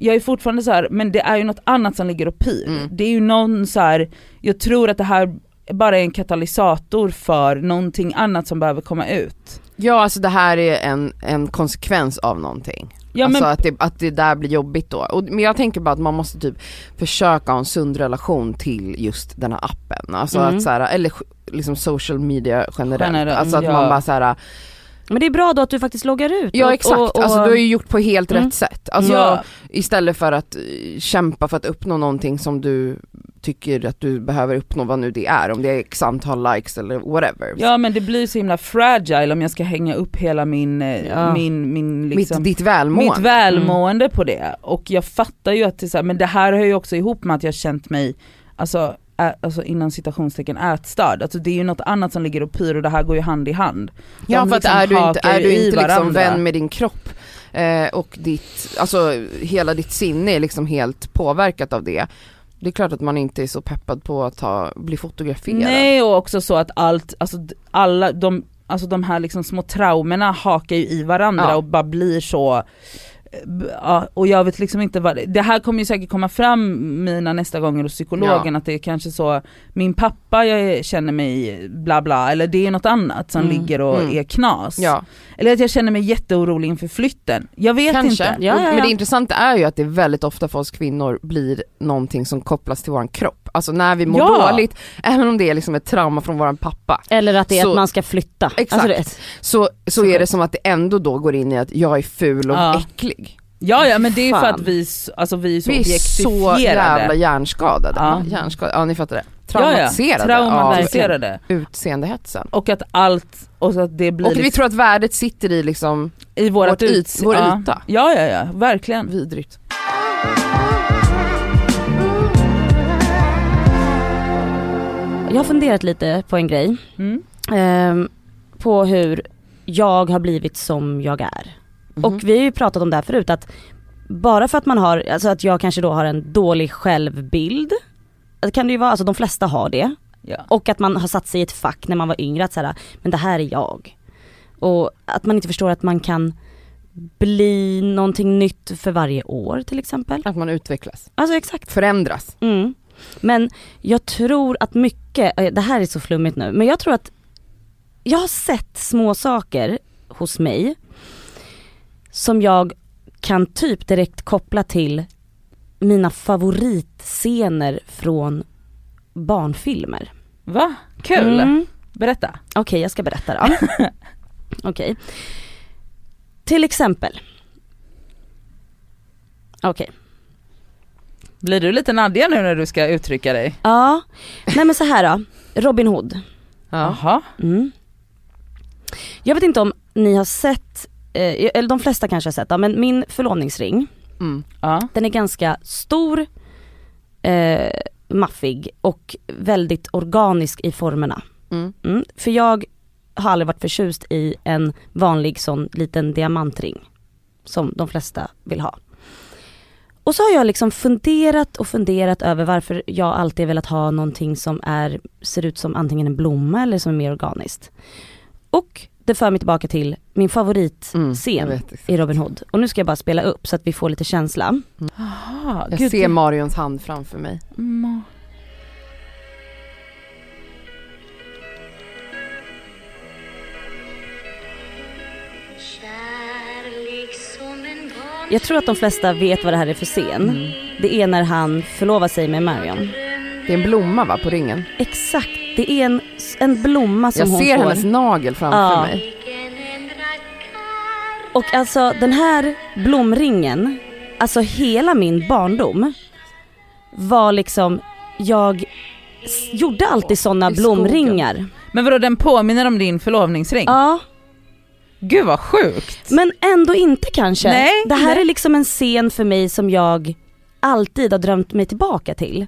S3: jag är fortfarande så här, men det är ju något annat som ligger och pyr.
S2: Mm.
S3: Det är ju någon så här, jag tror att det här bara är en katalysator för någonting annat som behöver komma ut.
S2: Ja alltså det här är en, en konsekvens av någonting.
S3: Ja,
S2: alltså
S3: men,
S2: att, det, att det där blir jobbigt då. Och, men jag tänker bara att man måste typ försöka ha en sund relation till just den här appen. Alltså
S4: Mm.
S2: att så här, eller sj- liksom social media generellt.
S3: Generellt,
S2: alltså att
S3: ja.
S2: man bara så här,
S4: Men det är bra då att du faktiskt loggar ut.
S2: ja
S4: och-
S2: exakt,
S4: och- och-
S2: alltså du har ju gjort på helt
S4: Mm.
S2: rätt sätt. Alltså
S3: ja,
S2: istället för att eh, kämpa för att uppnå någonting som du tycker att du behöver uppnå, vad nu det är, om det är x antal likes eller whatever.
S3: ja men det blir så himla fragile om jag ska hänga upp hela min, eh,
S4: Ja.
S3: min, min
S2: Mitt,
S3: liksom,
S2: ditt välmående. Mm.
S3: mitt välmående på det. Och jag fattar ju att det är så här, men det här hör ju också ihop med att jag har känt mig, alltså, ä, alltså inom citationstecken ätstörd. Alltså det är ju något annat som ligger och pyr och det här går ju hand i hand.
S2: Ja
S3: De
S2: för att
S3: liksom
S2: är du inte,
S3: hakar
S2: är du
S3: i
S2: inte liksom
S3: varandra.
S2: vän med din kropp eh, och ditt, alltså hela ditt sinne är liksom helt påverkat av det. Det är klart att man inte är så peppad på att ha, bli fotograferad.
S3: Nej och också så att allt, alltså d- alla de, alltså de här liksom små traumorna hakar ju i varandra
S2: Ja.
S3: och bara blir så eh, b- Ja, och jag vet liksom inte vad, det- det här kommer ju säkert komma fram mina nästa gånger hos psykologen att det är kanske så, min pappa jag känner mig bla bla eller det är något annat som
S4: Mm.
S3: ligger och
S2: Mm.
S3: är knas.
S2: Ja,
S3: Eller att jag känner mig jätteorolig inför flytten. Jag vet
S2: kanske.
S3: inte.
S4: Ja, ja, ja.
S2: Men det intressanta är ju att det väldigt ofta för oss kvinnor blir någonting som kopplas till våran kropp. Alltså när vi mår
S3: Ja.
S2: dåligt, även om det är liksom ett trauma från våran pappa,
S4: Eller att det är
S2: Så-
S4: att man ska flytta.
S2: Exakt.
S4: Alltså, du vet.
S2: så, så är det som att det ändå då går in i att jag är ful och
S3: Ja.
S2: äcklig.
S3: Ja ja men det är ju för
S4: Fan.
S3: att vi, s- alltså, vi är så
S2: Vi är så
S3: objektifierade.
S2: jävla hjärnskadade.
S3: Ja.
S2: Ja. Hjärnskadade. ja ni fattar det.
S3: Ja, ja.
S2: Traumatiserade, av
S3: traumatiserade.
S2: utseendehetsen.
S3: Och att allt, och så att det blir
S2: Och vi
S3: liksom,
S2: tror att värdet sitter i liksom
S3: i vårat
S2: vårt yt,
S3: uts-
S2: vår
S3: ja.
S2: yta.
S3: Ja ja ja, verkligen.
S2: Vidrigt.
S4: Jag har funderat lite på en grej.
S3: Mm.
S4: ehm, på hur jag har blivit som jag är.
S2: Mhm.
S4: Och vi har ju pratat om det här förut att bara för att man har, alltså att jag kanske då har en dålig självbild. alltså Kan det ju vara, alltså de flesta har det.
S3: Ja.
S4: Och att man har satt sig i ett fack när man var yngre att så här, men det här är jag. Och att man inte förstår att man kan bli någonting nytt för varje år till exempel.
S2: Att man utvecklas,
S4: Alltså exakt.
S2: förändras.
S4: Mm. Men jag tror att mycket, eh, det här är så flummigt nu, men jag tror att jag har sett små saker hos mig som jag kan typ direkt koppla till mina favoritscener från barnfilmer.
S3: Va? Kul!
S4: Mm.
S3: Berätta.
S4: Okej, jag ska berätta då. Okej. Till exempel. Okej.
S3: Blir du lite Nadja nu när du ska uttrycka dig?
S4: Ja. Nej men så här då. Robin Hood.
S2: Ah,
S3: Jaha.
S4: Mm. Jag vet inte om ni har sett, eh, eller de flesta kanske har sett, ja, men min förlovningsring,
S2: Mm.
S3: Ja.
S4: den är ganska stor, eh, maffig och väldigt organisk i formerna.
S2: Mm.
S4: Mm. För jag har aldrig varit förtjust i en vanlig sån liten diamantring som de flesta vill ha. Och så har jag liksom funderat och funderat över varför jag alltid velat ha någonting som är, ser ut som antingen en blomma eller som är mer organiskt. Och det för mig tillbaka till min favoritscen
S2: Mm. Jag, vet.
S4: i Robin Hood. Och nu ska jag bara spela upp så att vi får lite känsla.
S3: Jaha.
S2: Ah, jag
S3: Gud, Mm.
S2: ser
S3: det-
S2: Marions hand framför mig.
S3: Ma-
S4: Jag tror att de flesta vet vad det här är för scen.
S2: Mm.
S4: Det är när han förlovar sig med Marion.
S2: Det är en blomma va, på ringen?
S4: Exakt, det är en, en blomma som
S2: jag
S4: hon
S2: ser
S4: får.
S2: hennes nagel framför
S4: Ja.
S2: mig.
S4: Och alltså den här blomringen, alltså hela min barndom var liksom, jag s- gjorde alltid sådana
S2: I skogen.
S4: blomringar.
S3: Men vadå den påminner om din förlovningsring?
S4: Ja,
S3: Gud vad sjukt!
S4: men ändå inte kanske.
S3: Nej,
S4: det här
S3: nej.
S4: är liksom en scen för mig som jag alltid har drömt mig tillbaka till.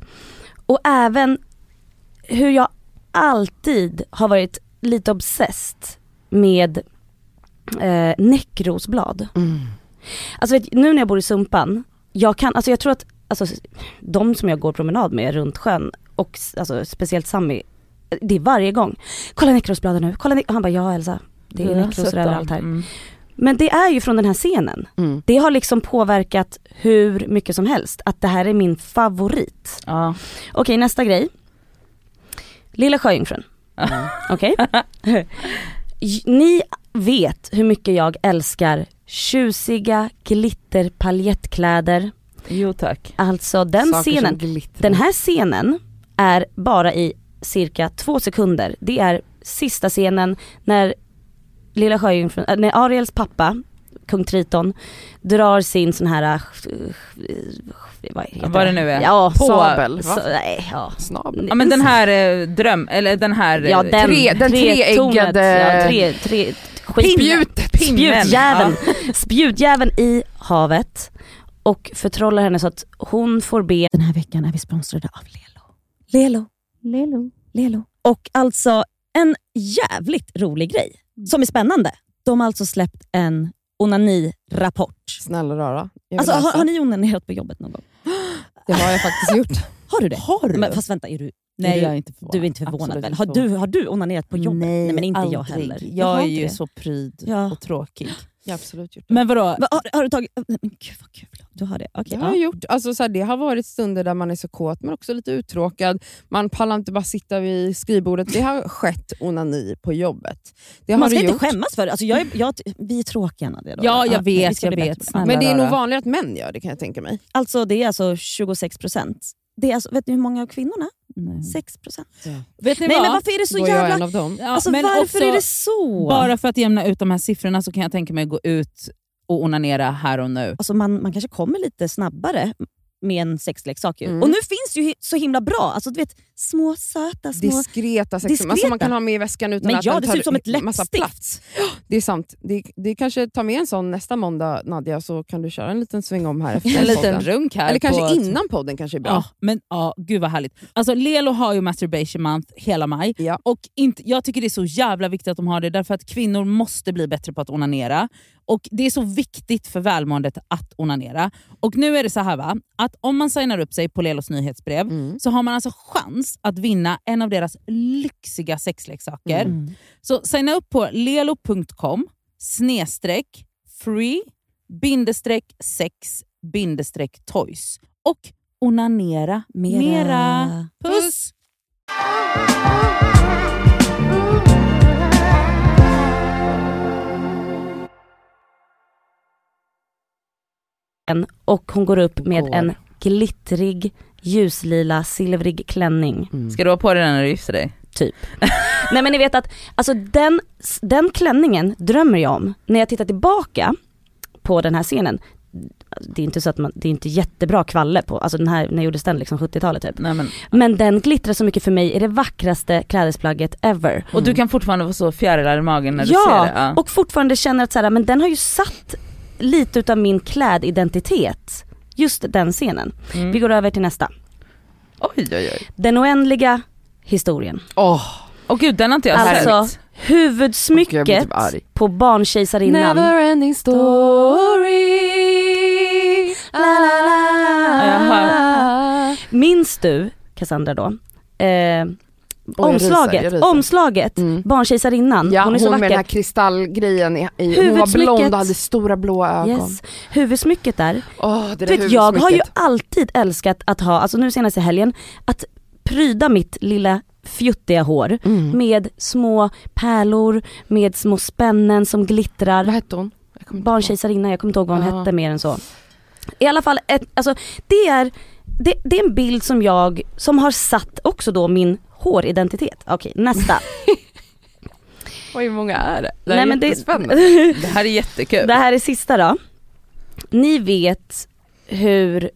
S4: Och även hur jag alltid har varit lite obsessed med eh, näckrosblad.
S2: Mm.
S4: Alltså vet, nu när jag bor i Sumpan, jag kan, alltså jag tror att alltså, de som jag går promenad med runt sjön och s- alltså, speciellt Sammy, det är varje gång. Kolla näckrosbladen nu, kolla näck-" och han bara ja Elsa, det är
S3: Jag har
S4: näckrosor
S3: sett
S4: överallt
S3: dem.
S4: här.
S3: Mm.
S4: Men det är ju från den här scenen.
S2: Mm.
S4: Det har liksom påverkat hur mycket som helst, att det här är min favorit.
S3: Ja.
S4: Okej nästa grej. Lilla Sjöjungfrun.
S2: Mm.
S4: Okej? J- Ni vet hur mycket jag älskar tjusiga glitterpaljettkläder.
S3: Jo tack.
S4: Alltså den
S2: Saker som
S4: scenen,
S2: glittrar.
S4: den här scenen är bara i cirka två sekunder. Det är sista scenen när Lilla Sjöjungfrun, äh, när Ariels pappa, kung Triton, drar sin sån här, äh, vad heter
S3: Vad det nu är.
S4: Ja,
S3: På-
S2: Sabel,
S4: så,
S2: va?
S4: nej, ja.
S2: Snabel.
S3: Ja men den här eh, dröm, eller den här eh,
S4: Ja den,
S2: Tre- den
S4: tretornet,
S2: treeggade-
S4: ja, tre, tre, skit-
S2: Spjutet!
S3: pinnen.
S4: Spjutjäveln. Spjutjäveln i havet och förtrollar henne så att hon får be. Den här veckan är vi sponsrade av Lelo.
S5: Lelo. Lelo. Lelo. Och alltså en jävligt rolig grej
S6: Mm.
S5: som är spännande. De har alltså släppt en onani-rapport.
S2: Snälla rara. Jag vill
S5: Alltså,
S2: läsa.
S5: har, har ni onanerat på jobbet någon gång?
S6: Det har jag faktiskt gjort.
S5: Har du det?
S6: Har du?
S5: Men, fast vänta, är du,
S6: Nej,
S5: är
S6: jag är
S5: du,
S6: inte förvånad.
S5: du är inte förvånad
S6: Absolut
S5: väl?
S6: inte
S5: Har du, har du onanerat på jobbet?
S6: Nej,
S5: men inte jag
S6: aldrig.
S5: heller. Jag har
S6: Jag är
S5: inte
S6: ju
S5: det.
S6: så pryd
S5: Ja.
S6: och tråkig.
S2: Jag har absolut gjort det.
S6: Men vadå?
S5: Va, har, har du tagit... oh, Nej, Men gud vad kul. Du har det? Okej.
S2: Jag
S5: ja.
S2: har gjort, alltså så här, det har varit stunder där man är så kåt men också lite uttråkad. Man pallar inte bara sitta vid skrivbordet. Det har skett onani på jobbet. Det har
S5: Man ska
S2: det
S5: inte
S2: gjort.
S5: skämmas för det. Alltså, jag, är- jag, vi är tråkiga Nadia. då.
S6: Ja, jag
S5: men vi
S6: vet,
S5: ska
S6: jag
S5: bli
S6: vet.
S5: bättre på
S6: Snälla.
S5: det.
S2: Men det är nog
S6: Rara.
S2: vanligare att män gör det kan jag tänka mig.
S5: Alltså det är alltså 26 procent. Det är alltså, vet ni hur många av kvinnorna?
S3: Mm.
S5: 6 procent.
S6: Vet ni
S5: Nej
S6: vad?
S5: men varför är det så
S2: Då är jag en
S5: jävla...
S2: av dem.
S6: Ja,
S5: Alltså,
S6: men
S5: varför
S6: också,
S5: är det så?
S6: Bara för att jämna ut de här siffrorna så kan jag tänka mig att gå ut och onanera här och nu.
S5: Alltså, man, man kanske kommer lite snabbare med en sexleksak. Ju.
S2: Mm.
S5: Och nu finns det ju hi- så himla bra. Alltså, du vet, små söta små...
S2: Diskreta sexer
S5: Diskreta.
S2: alltså man kan ha med i väskan utan
S5: men
S2: att
S5: ja,
S2: den
S5: det
S2: tar
S5: ser ut som ett
S2: massa
S5: läppstift.
S2: plats. Det är sant. Det, det kanske tar med en sån nästa måndag Nadja så kan du köra en liten sväng om här efter
S6: En liten
S2: podden.
S6: runk här.
S2: Eller kanske
S6: på-
S2: innan podden kanske är bra.
S6: Ja, men ja, gud vad härligt. Alltså Lelo har ju masturbation month hela maj.
S2: Ja.
S6: Och inte, jag tycker det är så jävla viktigt att de har det, därför att kvinnor måste bli bättre på att onanera. Och Det är så viktigt för välmåendet att onanera. Och nu är det så här va, att om man signar upp sig på Lelos nyhetsbrev
S2: Mm.
S6: så har man alltså chans att vinna en av deras lyxiga sexleksaker.
S5: Mm.
S6: Så signa upp på lelo.com snedstreck free bindestreck sex bindestreck toys och onanera mera. Puss!
S5: Mm.
S4: Och hon går upp med
S2: Går.
S4: en glittrig, ljuslila, silvrig klänning.
S3: Ska du ha på dig den när du gifter dig?
S4: Nej men ni vet att alltså den, den klänningen drömmer jag om. När jag tittar tillbaka på den här scenen, det är inte så att man, det är inte jättebra kvalle på, alltså den här, när gjordes den liksom 70-talet typ.
S3: Nej, men.
S4: Men den glittrar så mycket för mig i det vackraste klädesplagget ever.
S3: Och du kan fortfarande vara så fjärilar i magen när du ser
S4: ja,
S3: det? Ja.
S4: och fortfarande känner att så här, men den har ju satt lite utav min klädidentitet. Just den scenen.
S3: Mm.
S4: Vi går över till nästa.
S3: Oj oj oj.
S4: Den oändliga historien.
S2: Åh,
S3: Åh gud den har inte jag
S4: Alltså,
S3: sett.
S2: Gud, jag blir
S4: Huvudsmycket
S2: typ arg.
S4: på barnkejsarinnan.
S2: Never ending story. La, la, la.
S3: Ja, jag
S4: Minns du, Cassandra då, eh,
S2: jag rusar,
S4: omslaget,
S2: jag rusar.
S4: omslaget,
S2: Mm.
S4: barnkejsarinnan,
S2: Ja,
S4: hon är så
S2: med den här
S4: vacker.
S2: kristallgrejen. I, i, hon var
S4: Huvudsmycket.
S2: blond och hade stora blåa ögon.
S4: Yes. Huvudsmycket där.
S2: Åh, det
S4: Du
S2: där
S4: vet, jag har ju
S2: huvudsmycket.
S4: alltid älskat att ha, alltså nu senast i helgen, att pryda mitt lilla fjuttiga hår
S2: Mm.
S4: med små pärlor, med små spännen som glittrar.
S2: Vad hette hon? Jag kommer inte ihåg.
S4: barnkejsarinna, jag kommer inte ihåg vad hon
S2: Ja.
S4: hette mer än så. I alla fall, ett, alltså, det, är, det, det är en bild som jag, som har satt också då min håridentitet. Okej, nästa.
S2: Oj, hur många är det? Det
S4: Nej,
S2: här
S4: men
S2: är
S4: det-
S2: jättespännande.
S3: Det här är jättekul.
S4: det här är sista då. Ni vet hur,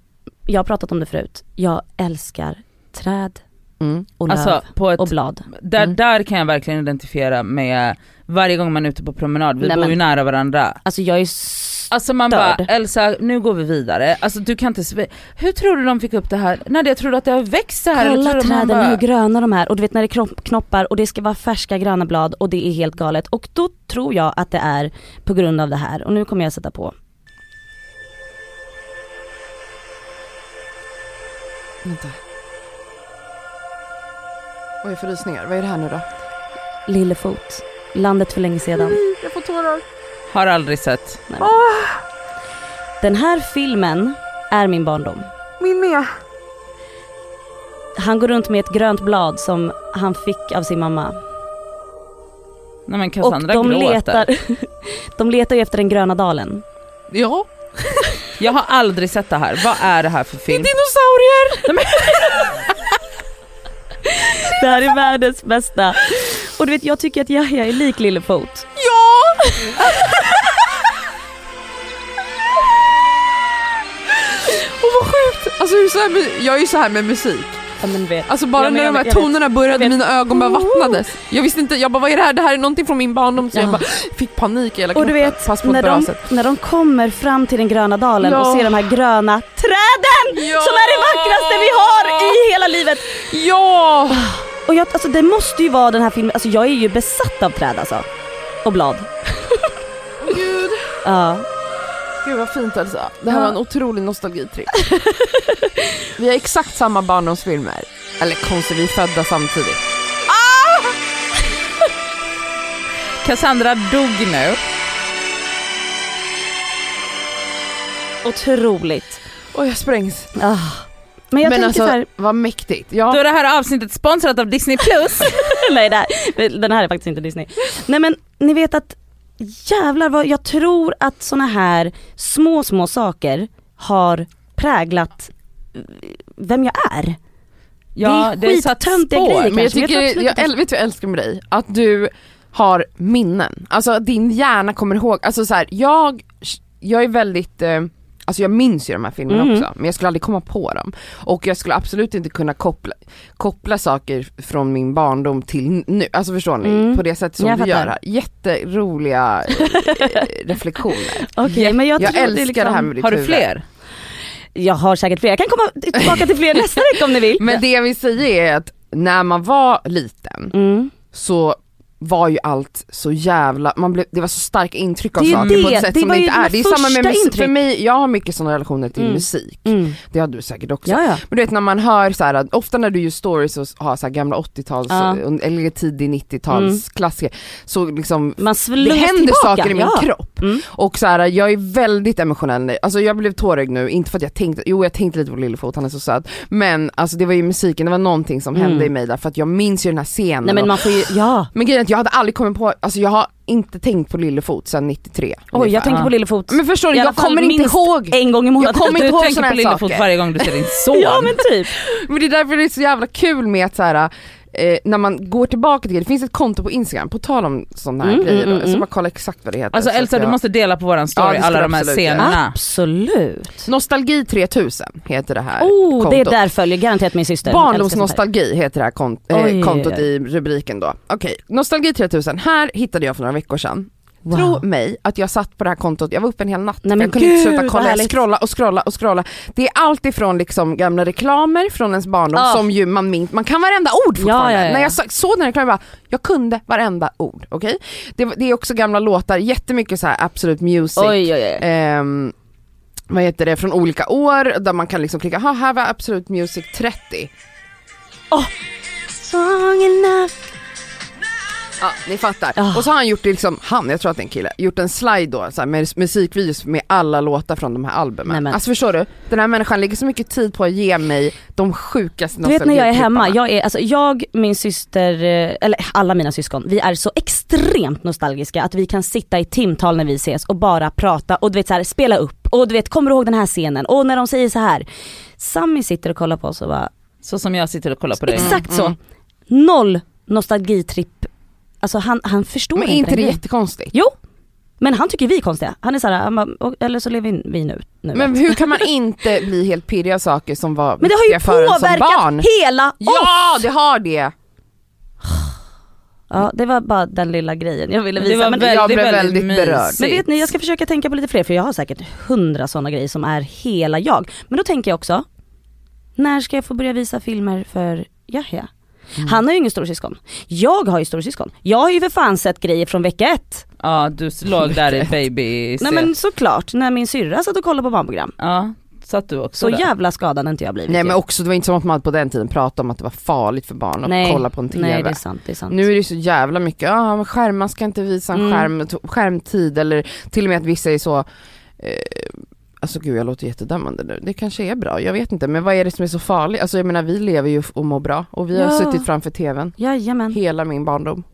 S4: jag har pratat om det förut, jag älskar träd
S2: Mm.
S4: och löv
S3: Alltså, på ett,
S4: och blad.
S3: där,
S2: Mm.
S3: där kan jag verkligen identifiera med varje gång man är ute på promenad, vi
S4: Nej,
S3: bor
S4: men-
S3: ju nära varandra.
S4: Alltså jag är s-
S3: Alltså man
S4: Störd.
S3: bara, Elsa nu går vi vidare. Alltså du kan inte, sve- hur tror du de fick upp det här? Nadja jag trodde att det har växt så här.
S4: Kolla
S3: jag trodde man
S4: träden hur
S3: bara,
S4: gröna de är och du vet när det är kno- knoppar och det ska vara färska gröna blad och det är helt galet. Och då tror jag att det är på grund av det här och nu kommer jag sätta på.
S2: Vänta. Oj, jag får rysningar. Vad är det här nu då?
S4: Lillefot, landet för länge sedan.
S2: Jag får tårar.
S3: har aldrig sett.
S4: Nej, men- Den här filmen är min barndom.
S2: Min med.
S4: Han går runt med ett grönt blad som han fick av sin mamma.
S3: Nej men Cassandra
S4: och de
S3: gråter.
S4: letar, de letar ju efter den gröna dalen.
S2: Ja.
S3: Jag har aldrig sett det här, vad är det här för film?
S2: Dinosaurier!
S4: Det här är världens bästa. Och du vet jag tycker att Yahya är lik Lillefot.
S2: Ja! Och vad sjukt! Alltså, hur är det så här med, jag är ju så här med musik.
S4: Ja, men du vet.
S2: Alltså bara
S4: Ja, men
S2: när
S4: jag
S2: de här
S4: vet, jag vet.
S2: tonerna började,
S4: Jag vet.
S2: mina ögon bara vattnades. Jag visste inte, jag bara vad är det här? Det här är någonting från min barndom. Så
S4: Ja.
S2: jag bara fick panik i hela
S4: Och du
S2: kroppen.
S4: vet,
S2: Fast på ett
S4: när
S2: bra
S4: de,
S2: sätt.
S4: när de kommer fram till den gröna dalen
S2: Ja.
S4: och ser de här gröna träden
S2: Ja.
S4: som är det vackraste vi har i hela livet.
S2: Ja!
S4: Och jag, alltså det måste ju vara den här filmen, alltså jag är ju besatt av träd alltså. Och blad.
S2: Gud.
S4: Ja.
S2: Gud vad fint Elsa. Det här
S4: Ja.
S2: var en otrolig nostalgitripp. vi har exakt samma barndomsfilmer. Eller konstigt, vi är födda samtidigt.
S3: Cassandra dog nu.
S4: Otroligt.
S2: Oj jag sprängs.
S4: Ah. Men
S2: Men
S4: jag tänker
S2: alltså
S4: så här,
S2: vad mäktigt.
S3: Då
S2: Ja.
S3: är det här avsnittet sponsrat av Disney Plus.
S4: nej det här, den här är faktiskt inte Disney. Nej men ni vet att jävlar vad jag tror att såna här små små saker har präglat eh, vem jag är.
S3: Ja
S4: Det
S3: det
S4: är
S3: är satt
S4: skittöntiga grejer.
S3: spår.
S2: Men jag
S4: kanske,
S2: tycker,
S4: men jag tror absolut
S2: jag,
S4: att det-
S2: äl- vet du vad jag älskar med dig? Att du har minnen. Alltså att din hjärna kommer ihåg, alltså så här, jag, jag är väldigt eh, Alltså jag minns ju de här filmerna
S4: Mm.
S2: också, men jag skulle aldrig komma på dem. Och jag skulle absolut inte kunna koppla, koppla saker från min barndom till nu, alltså förstår ni?
S4: Mm.
S2: På det sättet som
S4: Jag
S2: du
S4: fattar.
S2: gör här. Jätteroliga eh, reflektioner.
S4: Okej men jag,
S2: Jag,
S4: tror
S2: älskar
S4: det, är liksom,
S2: det här med ditt
S3: Har du
S2: huvud.
S3: fler?
S4: Jag har säkert fler, jag kan komma tillbaka till fler nästa vecka om ni vill.
S2: Men det jag vill säga är att när man var liten
S4: Mm.
S2: så var ju allt så jävla, man blev, det var så starka intryck av
S4: Det är ju
S2: saker på
S4: det,
S2: ett sätt
S4: det
S2: som
S4: var
S2: det
S4: ju
S2: inte är.
S4: dina
S2: Det är samma med
S4: första
S2: musik,
S4: intryck.
S2: för mig, jag har mycket sådana relationer till
S4: Mm.
S2: musik,
S4: Mm.
S2: det har du säkert också.
S4: Ja, ja.
S2: Men du vet när man hör så här, att ofta när du gör stories och har så här gamla 80-tals
S4: Ja.
S2: eller tidig 90-tals
S4: Mm.
S2: klassiker, så liksom
S4: Man
S2: det
S4: slungas
S2: händer
S4: tillbaka.
S2: saker i min
S4: ja.
S2: kropp.
S4: Mm.
S2: Och så här, jag är väldigt emotionell, nu. alltså jag blev tårögd nu, inte för att jag tänkte, jo jag tänkte lite på Lillefot, han är så söt. Men alltså det var ju musiken, det var någonting som
S4: Mm.
S2: hände i mig där för att jag minns ju den här scenen.
S4: Nej
S2: och-
S4: men man får ju, ja.
S2: men grejen är att jag hade aldrig kommit på, alltså jag har inte tänkt på Lillefot sedan 93.
S4: Oj jag
S2: ungefär.
S4: tänker på Lillefot
S2: Men förstår du,
S4: I alla
S2: jag
S4: fall
S2: kommer inte
S4: minst
S2: ihåg.
S4: en gång i månaden.
S2: kommer inte
S3: Du
S2: ihåg
S3: tänker
S2: såna
S3: på
S2: här
S3: Lillefot
S2: saker.
S3: varje gång du ser din son.
S4: Ja men typ.
S2: Men det är därför det är så jävla kul med att så här, eh, när man går tillbaka till det, finns ett konto på Instagram, på tal om sådana här
S4: Mm,
S2: grejer
S4: mm,
S2: då, jag ska
S4: mm.
S2: bara kolla exakt vad det heter.
S3: Alltså
S2: så att
S3: Elsa du
S2: jag-
S3: måste dela på våran
S2: Ja,
S3: story,
S2: det ska
S3: alla
S2: jag
S3: de här
S2: absolut göra.
S3: scenerna.
S4: Absolut.
S2: Nostalgi 3000 heter det här
S4: Oh,
S2: kontot.
S4: det är där följer garanterat min syster.
S2: Barndomsnostalgi heter det här kon-
S4: Oj,
S2: eh,
S4: oj,
S2: kontot
S4: oj.
S2: i rubriken då. Okej, Nostalgi 3000, här hittade jag för några veckor sedan.
S4: Wow.
S2: Tro mig att jag satt på det här kontot, jag var uppe en hel natt,
S4: Nej,
S2: för
S4: men
S2: jag kunde inte
S4: gud,
S2: sluta
S4: vad
S2: kolla, jag
S4: härligt.
S2: scrollade och scrollade och scrollade. Det är allt ifrån liksom gamla reklamer från ens barndom
S4: Ah.
S2: som ju man minns, man kan varenda ord fortfarande.
S4: Ja, ja, ja.
S2: När jag så- såg den här reklamen, jag, bara, jag kunde varenda ord. Okej? Det, det är också gamla låtar, jättemycket så här Absolute Music,
S4: Oj, oj, oj.
S2: ehm, vad heter det, från olika år där man kan liksom klicka, "Ha, här var Absolute Music 30. Ja, ni fattar.
S4: Ah.
S2: Och så har han gjort det liksom, han, jag tror att det är en kille, gjort en slide då så här, med musikvideos med alla låtar från de här albumen.
S4: Nej, men-
S2: Alltså förstår du? Den här människan lägger så mycket tid på att ge mig de sjukaste
S4: Du vet när jag är hemma,
S2: nostalgitripparna.
S4: jag, är, alltså, jag, min syster, eh, eller alla mina syskon, vi är så extremt nostalgiska att vi kan sitta i timtal när vi ses och bara prata och du vet så här, spela upp och du vet kommer du ihåg den här scenen och när de säger så här. Sammy sitter och kollar på oss och bara,
S3: Så som jag sitter och kollar på dig.
S4: exakt så.
S2: mm.
S4: Noll nostalgitripp, alltså han, han förstår
S2: Men är
S4: inte
S2: inte
S4: den
S2: det
S4: grejen.
S2: jättekonstigt?
S4: Jo, Men han tycker vi är konstiga. Han är såhär, han bara, "Och- eller så lever vi nu. nu
S2: Men hur kan man inte bli helt pirrig av saker som var
S4: Men det har ju
S2: viktiga för en som barn?
S4: påverkat hela
S2: Ja,
S4: oss!
S2: det har det!
S4: Ja det var bara den lilla grejen jag ville
S3: Det
S4: visa.
S3: var
S4: men,
S3: väldigt,
S2: jag blev
S3: väldigt
S2: väldigt
S3: mysigt.
S2: berörd.
S4: men vet ni jag ska försöka tänka på lite fler för jag har säkert hundra sådana grejer som är hela jag. Men då tänker jag också, när ska jag få börja visa filmer för Yahya?
S2: Mm.
S4: Han har ju ingen storsyskon. Jag har ju storsyskon. Jag har ju för fan sett grejer från vecka ett.
S3: Ja du låg där i baby
S4: Nej men såklart, när min syrra satt och kollade på barnprogram.
S3: Ja, satt du också
S4: Så
S3: där?
S4: jävla skadad har inte jag blivit.
S2: Nej
S4: ju.
S2: men också, det var inte som att man på den tiden pratade om att det var farligt för barn att
S4: Nej,
S2: kolla på en TV.
S4: Nej det är sant, det är sant.
S2: Nu är det ju så jävla mycket, ah, men skärmar ska inte visa en
S4: Mm.
S2: skärm, to- skärmtid eller till och med att vissa är så, eh, alltså gud jag låter jättedömande nu, det kanske är bra, jag vet inte, men vad är det som är så farligt? Alltså jag menar vi lever ju och mår bra och vi har
S4: Ja.
S2: suttit framför TVn
S4: Jajamän.
S2: hela min barndom.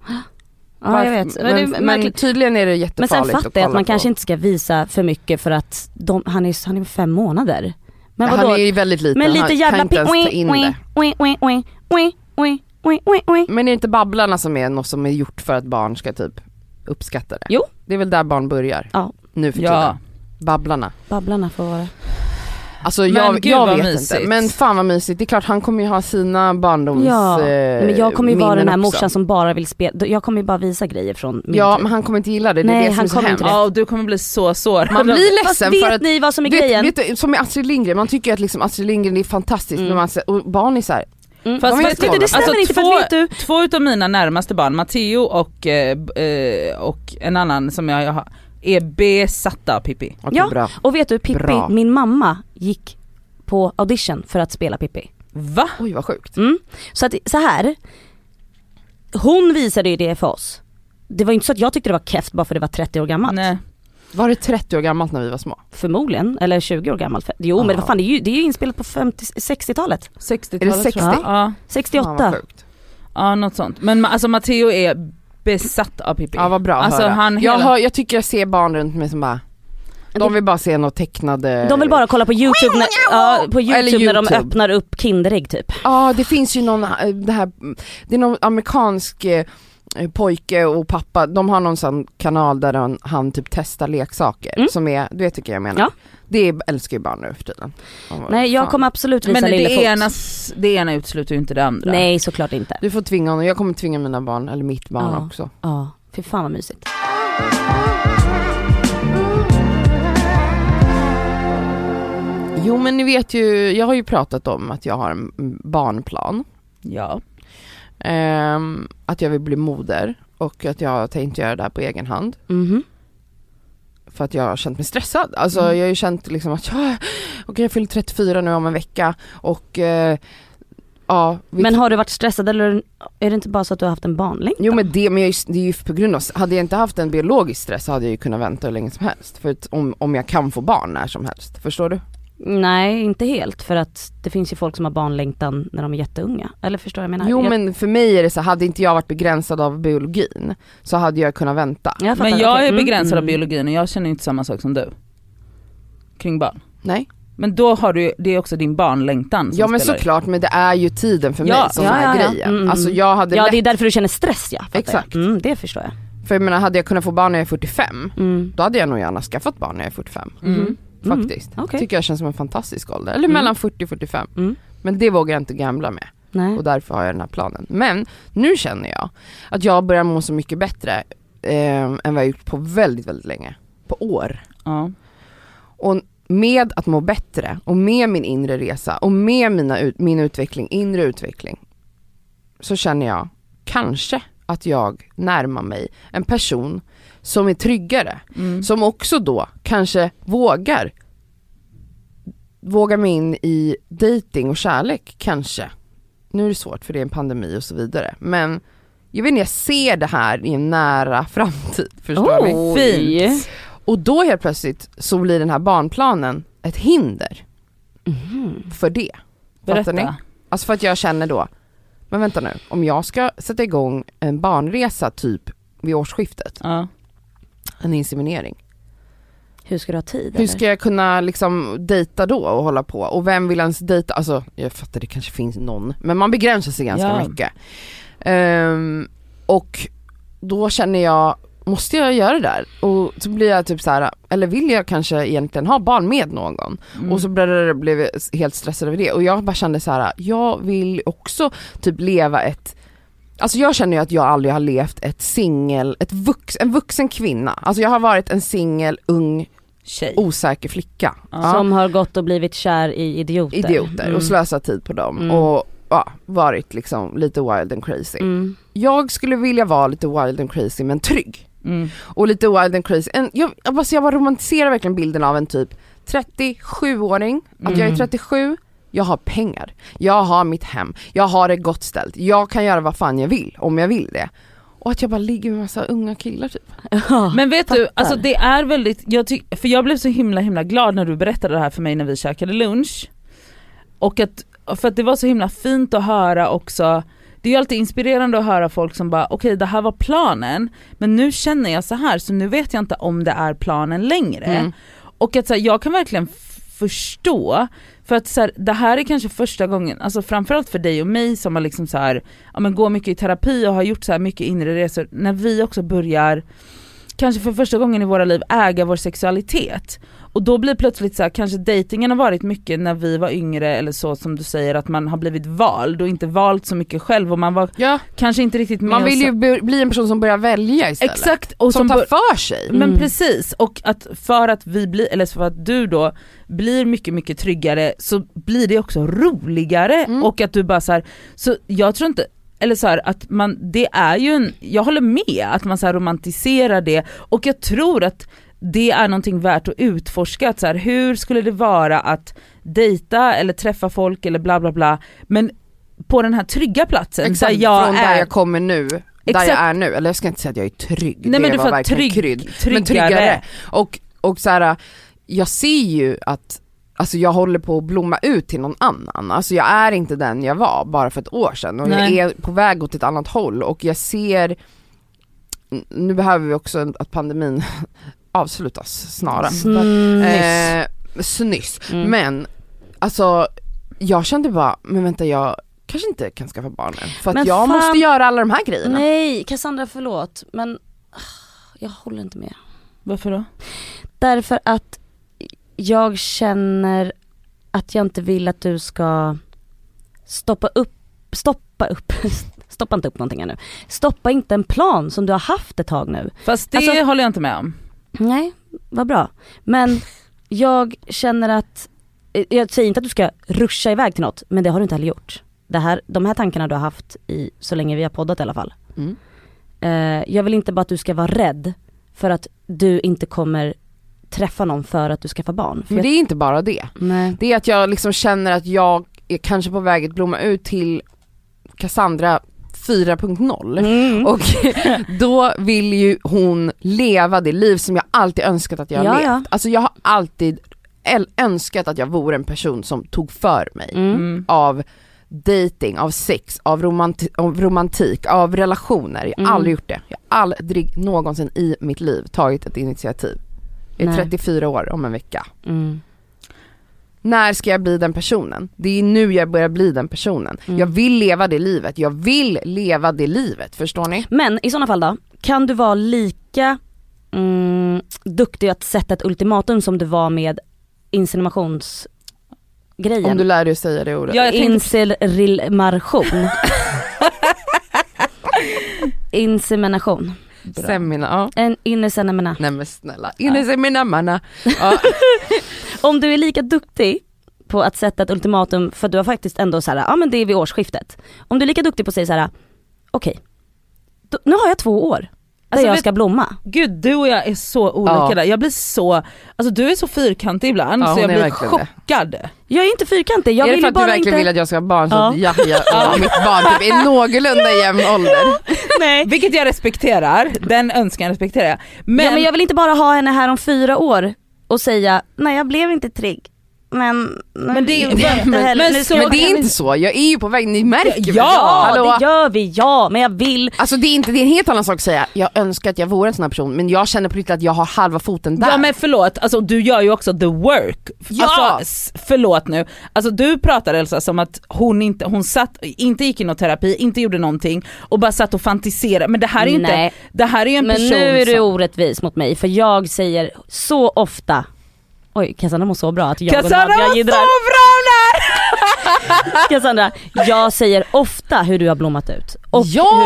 S4: Ja jag vet. Men, det är
S2: men, men
S4: märkligt.
S2: tydligen är det
S4: men
S2: jättefarligt
S4: sen fattar jag att man
S2: på.
S4: kanske inte ska visa för mycket för att de, han, är, han är fem månader. Men vadå?
S2: Han är ju väldigt liten,
S4: men lite
S2: han
S4: jävla
S2: kan inte ens ta
S4: pi-
S2: in
S4: oi,
S2: det.
S4: oi, oi, oi, oi, oi, oi, oi, oi.
S2: Men är det inte Babblarna som är något som är gjort för att barn ska typ uppskatta det?
S4: Jo.
S2: Det är väl där barn börjar?
S4: Ja.
S2: Nu för
S3: Ja,
S2: tiden. Babblarna.
S4: Babblarna får vara.
S2: Alltså
S3: Men
S2: jag,
S3: gud,
S2: jag
S3: vad
S2: vet
S3: mysigt.
S2: inte. Men fan vad mysigt. Det är klart han kommer ju ha sina barndoms
S4: Ja.
S2: eh,
S4: Men jag kommer ju vara
S2: minnen
S4: den här
S2: också.
S4: morsan som bara vill spela, jag kommer ju bara visa grejer från min
S2: Ja
S4: tur.
S2: men han kommer inte gilla det, det
S4: Nej,
S2: är det som
S4: han
S2: är så
S4: kommer
S2: hemskt.
S4: inte
S3: ja och du kommer bli så sårad.
S2: Man blir
S4: Fast
S2: ledsen
S4: vet
S2: för att
S4: ni vad som är grejen?
S2: Vet, vet du, som med Astrid Lindgren, man tycker ju att liksom Astrid Lindgren är fantastiskt
S4: Mm.
S2: men man, ser- och barn är såhär,
S4: mm.
S3: Fast
S4: Fast,
S2: vet
S4: vet du,
S2: du-
S4: det stämmer
S3: alltså
S4: inte
S3: två-
S4: för att vet du,
S3: Två utav mina närmaste barn, Matteo och, eh, b- eh, och en annan som jag, jag har, är besatta av Pippi.
S2: okej
S4: Ja.
S2: bra.
S4: och vet du Pippi,
S2: Bra.
S4: min mamma gick på audition för att spela Pippi.
S3: Va?
S2: Oj vad sjukt.
S4: Mm. Så att så här. hon visade ju det för oss. Det var ju inte så att jag tyckte det var keft bara för det var 30 år gammalt.
S3: Nej.
S2: Var det 30 år gammalt när vi var små?
S4: Förmodligen, eller 20 år gammalt. För- Jo men
S2: Ja.
S4: vad fan det är ju, det är ju inspelat på 50, 60-talet.
S3: 60-talet
S2: Är det 60?
S3: tror jag. Ja,
S4: 68.
S2: Fan, vad sjukt.
S3: ja något sånt. Men ma- alltså Matteo är besatt av Pippi.
S2: Ja vad bra att
S3: Alltså,
S2: höra.
S3: han
S2: jag,
S3: hela-
S2: hör, jag tycker jag ser barn runt mig som bara, de vill bara se något tecknade
S4: de vill bara kolla på YouTube, när, ja, på YouTube,
S2: Eller
S4: när de
S2: YouTube.
S4: öppnar upp Kinderägg typ.
S2: Ja det finns ju någon, eh, det här, det är någon amerikansk eh, pojke och pappa, de har någon sån kanal där han, han typ testar leksaker
S4: Mm.
S2: som är, du vet vilka jag menar?
S4: Ja.
S2: Det är, älskar ju barn nu för tiden. Åh,
S4: Nej jag
S2: fan.
S4: kommer absolut visa
S3: Men det
S4: Lillefot.
S3: ena, s- det ena utesluter ju inte det andra.
S4: Nej såklart inte.
S2: Du får tvinga honom, jag kommer tvinga mina barn, eller mitt barn
S4: Ja.
S2: också.
S4: Ja, fy fan vad mysigt.
S2: Jo men ni vet ju, jag har ju pratat om att jag har en barnplan.
S3: Ja.
S2: Ehm, att jag vill bli moder och att jag tänkte göra det här på egen hand.
S4: Mhm.
S2: För att jag har känt mig stressad. Alltså
S4: Mm.
S2: jag har ju känt liksom att jag, okay, jag fyller 34 nu om en vecka och eh, ja. vi-
S4: Men har du varit stressad eller är det inte bara så att du har haft en barnlängtan?
S2: Jo men det, men jag, är ju- det är ju på grund av, hade jag inte haft en biologisk stress så hade jag ju kunnat vänta hur länge som helst. För att om, om jag kan få barn när som helst, förstår du?
S4: Nej inte helt för att det finns ju folk som har barnlängtan när de är jätteunga. Eller förstår jag vad jag menar?
S2: Jo
S4: jag,
S2: men för mig är det så, hade inte jag varit begränsad av biologin så hade jag kunnat vänta.
S4: jag fattar,
S3: Men jag
S4: okej.
S3: är
S4: Mm,
S3: begränsad av
S4: mm.
S3: biologin och jag känner ju inte samma sak som du. Kring barn.
S2: Nej.
S3: Men då har du, det är också din barnlängtan som
S2: Ja men
S3: spelar in.
S2: såklart, men det är ju tiden för
S3: Ja,
S2: mig som
S4: ja,
S2: är
S4: ja, ja.
S2: grejen.
S4: Mm, mm,
S2: Alltså jag hade
S4: Ja
S2: lätt,
S4: det är därför du känner stress ja. fattar jag.
S2: Exakt.
S4: Mm, det förstår jag.
S2: för jag menar hade jag kunnat få barn när jag är 45,
S4: Mm.
S2: då hade jag nog gärna skaffat barn när jag är 45.
S3: Mm.
S4: Mm.
S2: Faktiskt.
S4: Okej.
S2: Tycker jag känns som en fantastisk ålder. Eller
S4: Mm.
S2: mellan 40 och 45.
S4: Mm.
S2: Men det vågar jag inte gamla med
S4: Nej.
S2: och därför har jag den här planen. Men nu känner jag att jag börjar må så mycket bättre eh, än vad jag gjort på väldigt, väldigt länge. På år.
S3: Ja.
S2: Och med att må bättre och med min inre resa och med mina, ut- min utveckling, inre utveckling, så känner jag kanske att jag närmar mig en person som är tryggare.
S3: Mm.
S2: Som också då kanske vågar, vågar mig in i dating och kärlek kanske. Nu är det svårt för det är en pandemi och så vidare. Men jag vet inte, jag ser det här i en nära framtid. Förstår
S4: Oh.
S2: ni?
S3: Fint.
S2: Och då helt plötsligt så blir den här barnplanen ett hinder
S4: Mhm.
S2: för det. Fattar ni?
S3: Berätta.
S2: Alltså för att jag känner då, men vänta nu, om jag ska sätta igång en barnresa typ vid årsskiftet,
S3: Ja.
S2: en inseminering.
S4: Hur ska du ha tid?
S2: Hur ska jag kunna liksom dejta då och hålla på? Och vem vill ens dejta? Alltså jag fattar det kanske finns någon, men man begränsar sig ganska
S3: Ja.
S2: mycket. Ehm, och då känner jag måste jag göra det där? Och så blir jag typ så här, eller vill jag kanske egentligen ha barn med någon?
S3: Mm.
S2: Och så blev blev jag helt stressad över det och jag bara kände så här, jag vill också typ leva ett Alltså jag känner ju att jag aldrig har levt ett singel, ett vux, en vuxen kvinna. Alltså jag har varit en singel, ung,
S3: Tjej.
S2: osäker flicka. Ja.
S4: Som har gått och blivit kär i idioter.
S2: idioter
S4: Mm.
S2: och slösat tid på dem
S4: Mm.
S2: och ja, varit liksom lite wild and crazy.
S4: Mm.
S2: Jag skulle vilja vara lite wild and crazy men trygg.
S3: Mm.
S2: Och lite wild and crazy, en, jag, jag bara- så jag bara romantiserar verkligen bilden av en typ 37-åring, att jag är
S3: Mm.
S2: 37, jag har pengar, jag har mitt hem, jag har det gott ställt, jag kan göra vad fan jag vill om jag vill det. Och att jag bara ligger med massa unga killar typ.
S4: Ja.
S3: Men vet du,
S4: fattar.
S3: alltså det är väldigt, jag tyck, för jag blev så himla himla glad när du berättade det här för mig när vi käkade lunch. Och att, för att det var så himla fint att höra också, det är ju alltid inspirerande att höra folk som bara okej det här var planen, men nu känner jag så här så nu vet jag inte om det är planen längre.
S2: Mm.
S3: Och att så här, jag kan verkligen f- förstå, för att så här, det här är kanske första gången, alltså framförallt för dig och mig som har liksom så här, ja, men går mycket i terapi och har gjort så här mycket inre resor, när vi också börjar, kanske för första gången i våra liv, äga vår sexualitet. Och då blir plötsligt så här, kanske dejtingen har varit mycket när vi var yngre eller så som du säger att man har blivit vald och inte valt så mycket själv och man var
S2: Ja,
S3: kanske inte riktigt med
S2: man
S3: och
S2: vill
S3: så-
S2: ju bli- bli en person som börjar välja istället.
S3: Exakt! Och
S2: Som
S3: som
S2: tar
S3: bör-
S2: för sig.
S3: men
S4: Mm.
S3: precis, och att för att vi blir, eller för att du då blir mycket mycket tryggare så blir det också roligare
S2: Mm.
S3: och att du bara så här, så jag tror inte eller så här, att man, det är ju en, jag håller med att man så här romantiserar det och jag tror att det är någonting värt att utforska, att så här, hur skulle det vara att dejta eller träffa folk eller bla bla bla men på den här trygga platsen
S2: Exakt,
S3: där jag
S2: från
S3: är.
S2: där jag kommer nu,
S3: Exakt.
S2: där jag är nu. Eller jag ska inte säga att jag är trygg,
S3: Nej,
S2: det
S3: men du
S2: var
S3: får
S2: verkligen
S3: trygg-
S2: krydd. Men
S3: tryggare.
S2: tryggare. Och, och så här, jag ser ju att Alltså jag håller på att blomma ut till någon annan, alltså jag är inte den jag var bara för ett år sedan och
S3: Nej.
S2: jag är på väg åt ett annat håll och jag ser, N- nu behöver vi också att pandemin avslutas
S3: Mm.
S2: snarast.
S4: Snyss.
S2: Eh, snyss.
S4: Mm.
S2: Men alltså jag kände bara, men vänta jag kanske inte kan skaffa barn än för att
S3: Men
S2: jag
S3: fan-
S2: måste göra alla de här grejerna.
S4: Nej, Cassandra förlåt men ah, jag håller inte med.
S3: Varför då?
S4: Därför att jag känner att jag inte vill att du ska stoppa upp, stoppa upp, stoppa inte upp någonting här nu. Stoppa inte en plan som du har haft ett tag nu.
S3: Fast det
S4: Alltså-
S3: håller jag inte med om.
S4: Nej, vad bra. Men jag känner att, eh, jag säger inte att du ska ruscha iväg till något, men det har du inte heller gjort. Det här, de här tankarna du har haft i, så länge vi har poddat i alla fall.
S2: Mm.
S4: Eh, jag vill inte bara att du ska vara rädd för att du inte kommer träffa någon för att du skaffar barn. För
S2: Men det är inte bara det.
S4: jag, nej.
S2: Det är att jag liksom känner att jag är kanske på väg att blomma ut till Cassandra 4.0 Mm.
S4: Mm.
S2: och då vill ju hon leva det liv som jag alltid önskat att jag
S4: Ja,
S2: levt.
S4: ja.
S2: Alltså jag har alltid äl- önskat att jag vore en person som tog för mig
S4: Mm.
S3: Mm.
S2: av dating, av sex, av, romanti- av romantik, av relationer. Jag har
S4: Mm.
S2: aldrig gjort det. Jag har aldrig någonsin i mitt liv tagit ett initiativ. Jag är
S4: Nej.
S2: 34 år om en vecka.
S4: Mm.
S2: När ska jag bli den personen? Det är nu jag börjar bli den personen.
S4: Mm.
S2: Jag vill leva det livet, jag vill leva det livet, förstår ni?
S4: Men i sådana fall då, kan du vara lika mm, duktig att sätta ett ultimatum som du var med inseminationsgrejen?
S2: Om du lär dig att säga det ordet.
S3: Ja, jag tänkte,
S4: Inserilmation. Insemination.
S2: Semina, ja.
S4: En innesenemina.
S2: Nej men snälla, in i seminamanna. Ja.
S4: Om du är lika duktig på att sätta ett ultimatum, för du har faktiskt ändå så här, ja men det är vid årsskiftet. Om du är lika duktig på att säga så här, okej, då- nu har jag två år där
S3: Alltså,
S4: jag
S3: vet-
S4: ska blomma.
S3: gud du och jag är så olika
S2: Ja.
S3: där. Jag blir så, alltså du är så fyrkantig ibland
S2: Ja,
S3: så
S2: hon
S3: jag
S2: är
S3: blir
S2: verkligen det.
S3: chockad.
S4: Jag är inte fyrkantig, jag
S2: är det
S4: vill
S2: för
S4: ju
S2: att du
S4: bara
S2: verkligen
S4: inte...
S2: vill att jag ska ha barn så
S4: Ja.
S2: att Yahya och mitt barn typ är någorlunda jämn ålder?
S4: Nej.
S3: Vilket jag respekterar, den önskan respekterar jag. Men,
S4: ja, men jag vill inte bara ha henne här om fyra år och säga, nej jag blev inte trygg. men...
S3: Men det är-
S4: nu vet jag heller-
S3: men
S4: nu ska
S3: så-
S4: jag-
S2: Men det är inte så, jag är ju på väg, ni märker väl?
S4: Ja,
S2: Hallå?
S4: det gör vi, ja, men jag vill...
S2: Alltså det är, inte, det är en helt annan sak att säga, jag önskar att jag vore en sån här person men jag känner på riktigt att jag har halva foten där.
S3: Ja men förlåt, alltså, du gör ju också the work.
S2: Ja!
S3: Alltså, s- förlåt nu. Alltså, du pratar Elsa som att hon inte, hon satt, inte gick i någon terapi, inte gjorde någonting och bara satt och fantiserade. Men det här är ju inte,
S4: Nej.
S3: det här är ju en
S4: Men
S3: person
S4: nu är du
S3: som...
S4: orättvis mot mig för jag säger så ofta Oj, Cassandra mår så bra att jag
S3: Cassandra
S4: går jag
S3: var så
S4: jiddrar.
S3: bra där!
S4: Cassandra, jag säger ofta hur du har blommat ut. Och
S2: Ja!
S4: Hur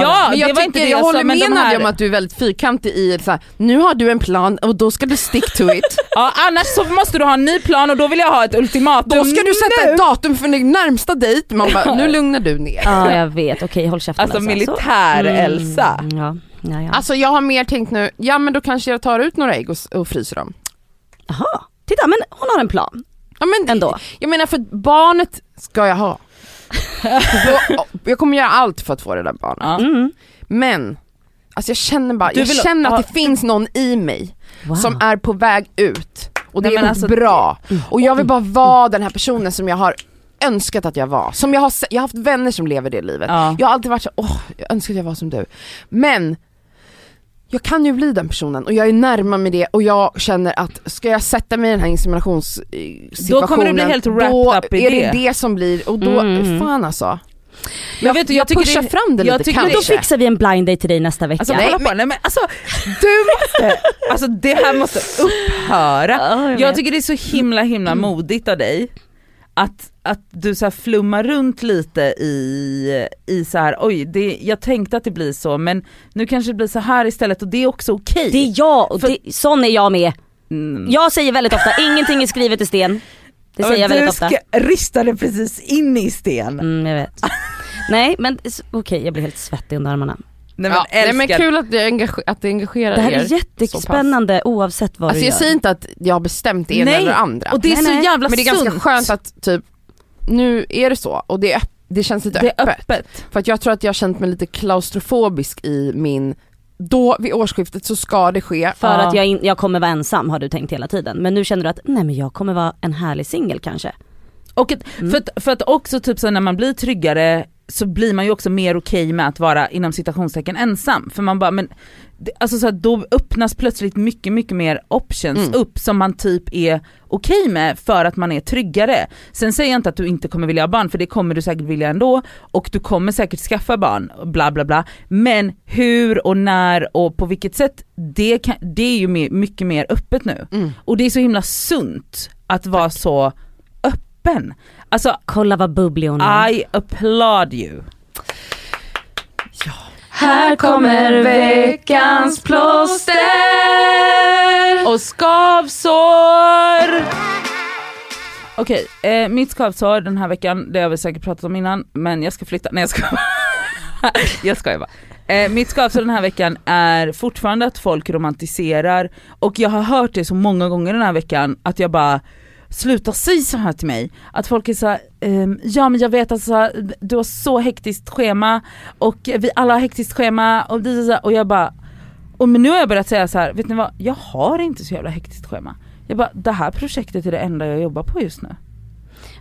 S4: jag,
S2: men
S3: Ja, det
S2: jag,
S3: var inte
S2: tycker,
S3: det
S2: jag
S3: jag
S2: håller
S3: sa, men
S2: med
S3: de
S2: Nadia
S3: här-
S2: om att du är väldigt fyrkantig i så här, nu har du en plan och då ska du stick to it.
S3: Ja, annars så måste du ha en ny plan och då vill jag ha ett ultimatum
S2: Då ska du sätta ett datum för din närmsta dejt. Man bara, nu lugnar du ner.
S4: ja jag vet, okej håll käften
S3: Alltså
S4: Så.
S3: militär-Elsa.
S4: Mm, ja, ja, ja.
S2: Alltså jag har mer tänkt nu, ja men då kanske jag tar ut några ägg och, s- och fryser dem.
S4: Jaha, titta men hon har en plan
S2: Ja, men,
S4: ändå.
S2: Jag menar för barnet ska jag ha. Då, jag kommer göra allt för att få det där barnet.
S3: Ja.
S4: Mm.
S2: Men, alltså jag känner bara,
S3: Du
S2: jag
S3: vill-
S2: känner
S3: ja.
S2: att det finns någon i mig
S4: Wow.
S2: som är på väg ut. Och det
S3: Nej,
S2: är
S3: men
S2: något
S3: alltså-
S2: bra. Och jag vill bara vara den här personen som jag har önskat att jag var. Som jag har, se- jag har haft vänner som lever det livet.
S3: Ja.
S2: Jag har alltid varit så åh, jag önskar att jag var som du. Men jag kan ju bli den personen och jag är närmare med det och jag känner att ska jag sätta mig i den här inseminationssituationen
S3: Då kommer du bli helt wrapped
S2: då
S3: up i
S2: är det
S3: det.
S2: det som blir, och då,
S4: Mm.
S2: fan alltså.
S3: Men vet du, jag tycker
S2: pushar
S3: det-
S2: fram det
S3: jag
S2: lite
S3: tycker det-
S2: kanske.
S4: Då fixar vi en blind date till dig nästa vecka.
S3: Alltså
S2: Nej,
S3: kolla på nej men alltså du måste, alltså det här måste upphöra.
S4: Ja, jag
S3: Jag
S4: vet.
S3: tycker det är så himla himla modigt av dig att, att du så här flummar runt lite i, i så här, oj det, jag tänkte att det blir så men nu kanske det blir så här istället och det är också okej.
S4: Det är jag, och
S3: För-
S4: det, sån är jag med.
S3: Mm.
S4: Jag säger väldigt ofta, ingenting är skrivet i sten. Det säger jag
S3: du
S4: väldigt ofta.
S3: ska rista det precis in i sten.
S4: Mm, jag vet. Nej men s- okej jag blir helt svettig under armarna.
S3: Nej men
S2: Ja, nej,
S3: älskar,
S2: men kul att det, engage, att det engagerar
S4: Det här
S2: er.
S4: är jättespännande oavsett vad
S2: Alltså
S4: du
S2: jag
S4: gör.
S2: säger inte att jag har bestämt det ena
S3: Nej,
S2: eller det andra.
S3: och det är
S4: Nej,
S3: så
S4: nej.
S3: jävla
S2: men det är ganska
S3: sunt.
S2: skönt att typ, nu är det så och det, är öpp- det känns lite
S3: det är
S2: öppet.
S3: öppet.
S2: För att jag tror att jag har känt mig lite klaustrofobisk i min, då vid årsskiftet så ska det ske.
S4: För
S3: Ja.
S4: att jag, in, jag kommer vara ensam har du tänkt hela tiden. Men nu känner du att nej men jag kommer vara en härlig singel kanske.
S3: Och att,
S2: Mm.
S3: för, att, för att också typ så när man blir tryggare så blir man ju också mer okej med att vara inom citationstecken ensam. För man bara, men det, alltså så här, då öppnas plötsligt mycket, mycket mer options
S2: Mm.
S3: upp som man typ är okej med för att man är tryggare. Sen säger jag inte att du inte kommer vilja ha barn för det kommer du säkert vilja ändå och du kommer säkert skaffa barn, bla bla bla. Men hur och när och på vilket sätt, det, kan, det är ju mer, mycket mer öppet nu.
S2: Mm.
S3: Och det är så himla sunt att vara så öppen. Alltså
S4: Kolla vad bubblig hon är.
S3: I applaud you.
S4: Här kommer veckans plåster.
S3: Och skavsår! Okej, eh, mitt skavsår den här veckan, det har vi säkert pratat om innan, men jag ska flytta. Nej jag skojar bara. jag skojar bara. Eh, mitt skavsår den här veckan är fortfarande att folk romantiserar och jag har hört det så många gånger den här veckan att jag bara Sluta säga så här till mig. Att folk är så här, ehm, ja men jag vet alltså du har så hektiskt schema och vi alla har hektiskt schema och, det är så här, och jag bara och men nu har jag börjat säga så här, vet ni vad, jag har inte så jävla hektiskt schema. Jag bara, det här projektet är det enda jag jobbar på just nu.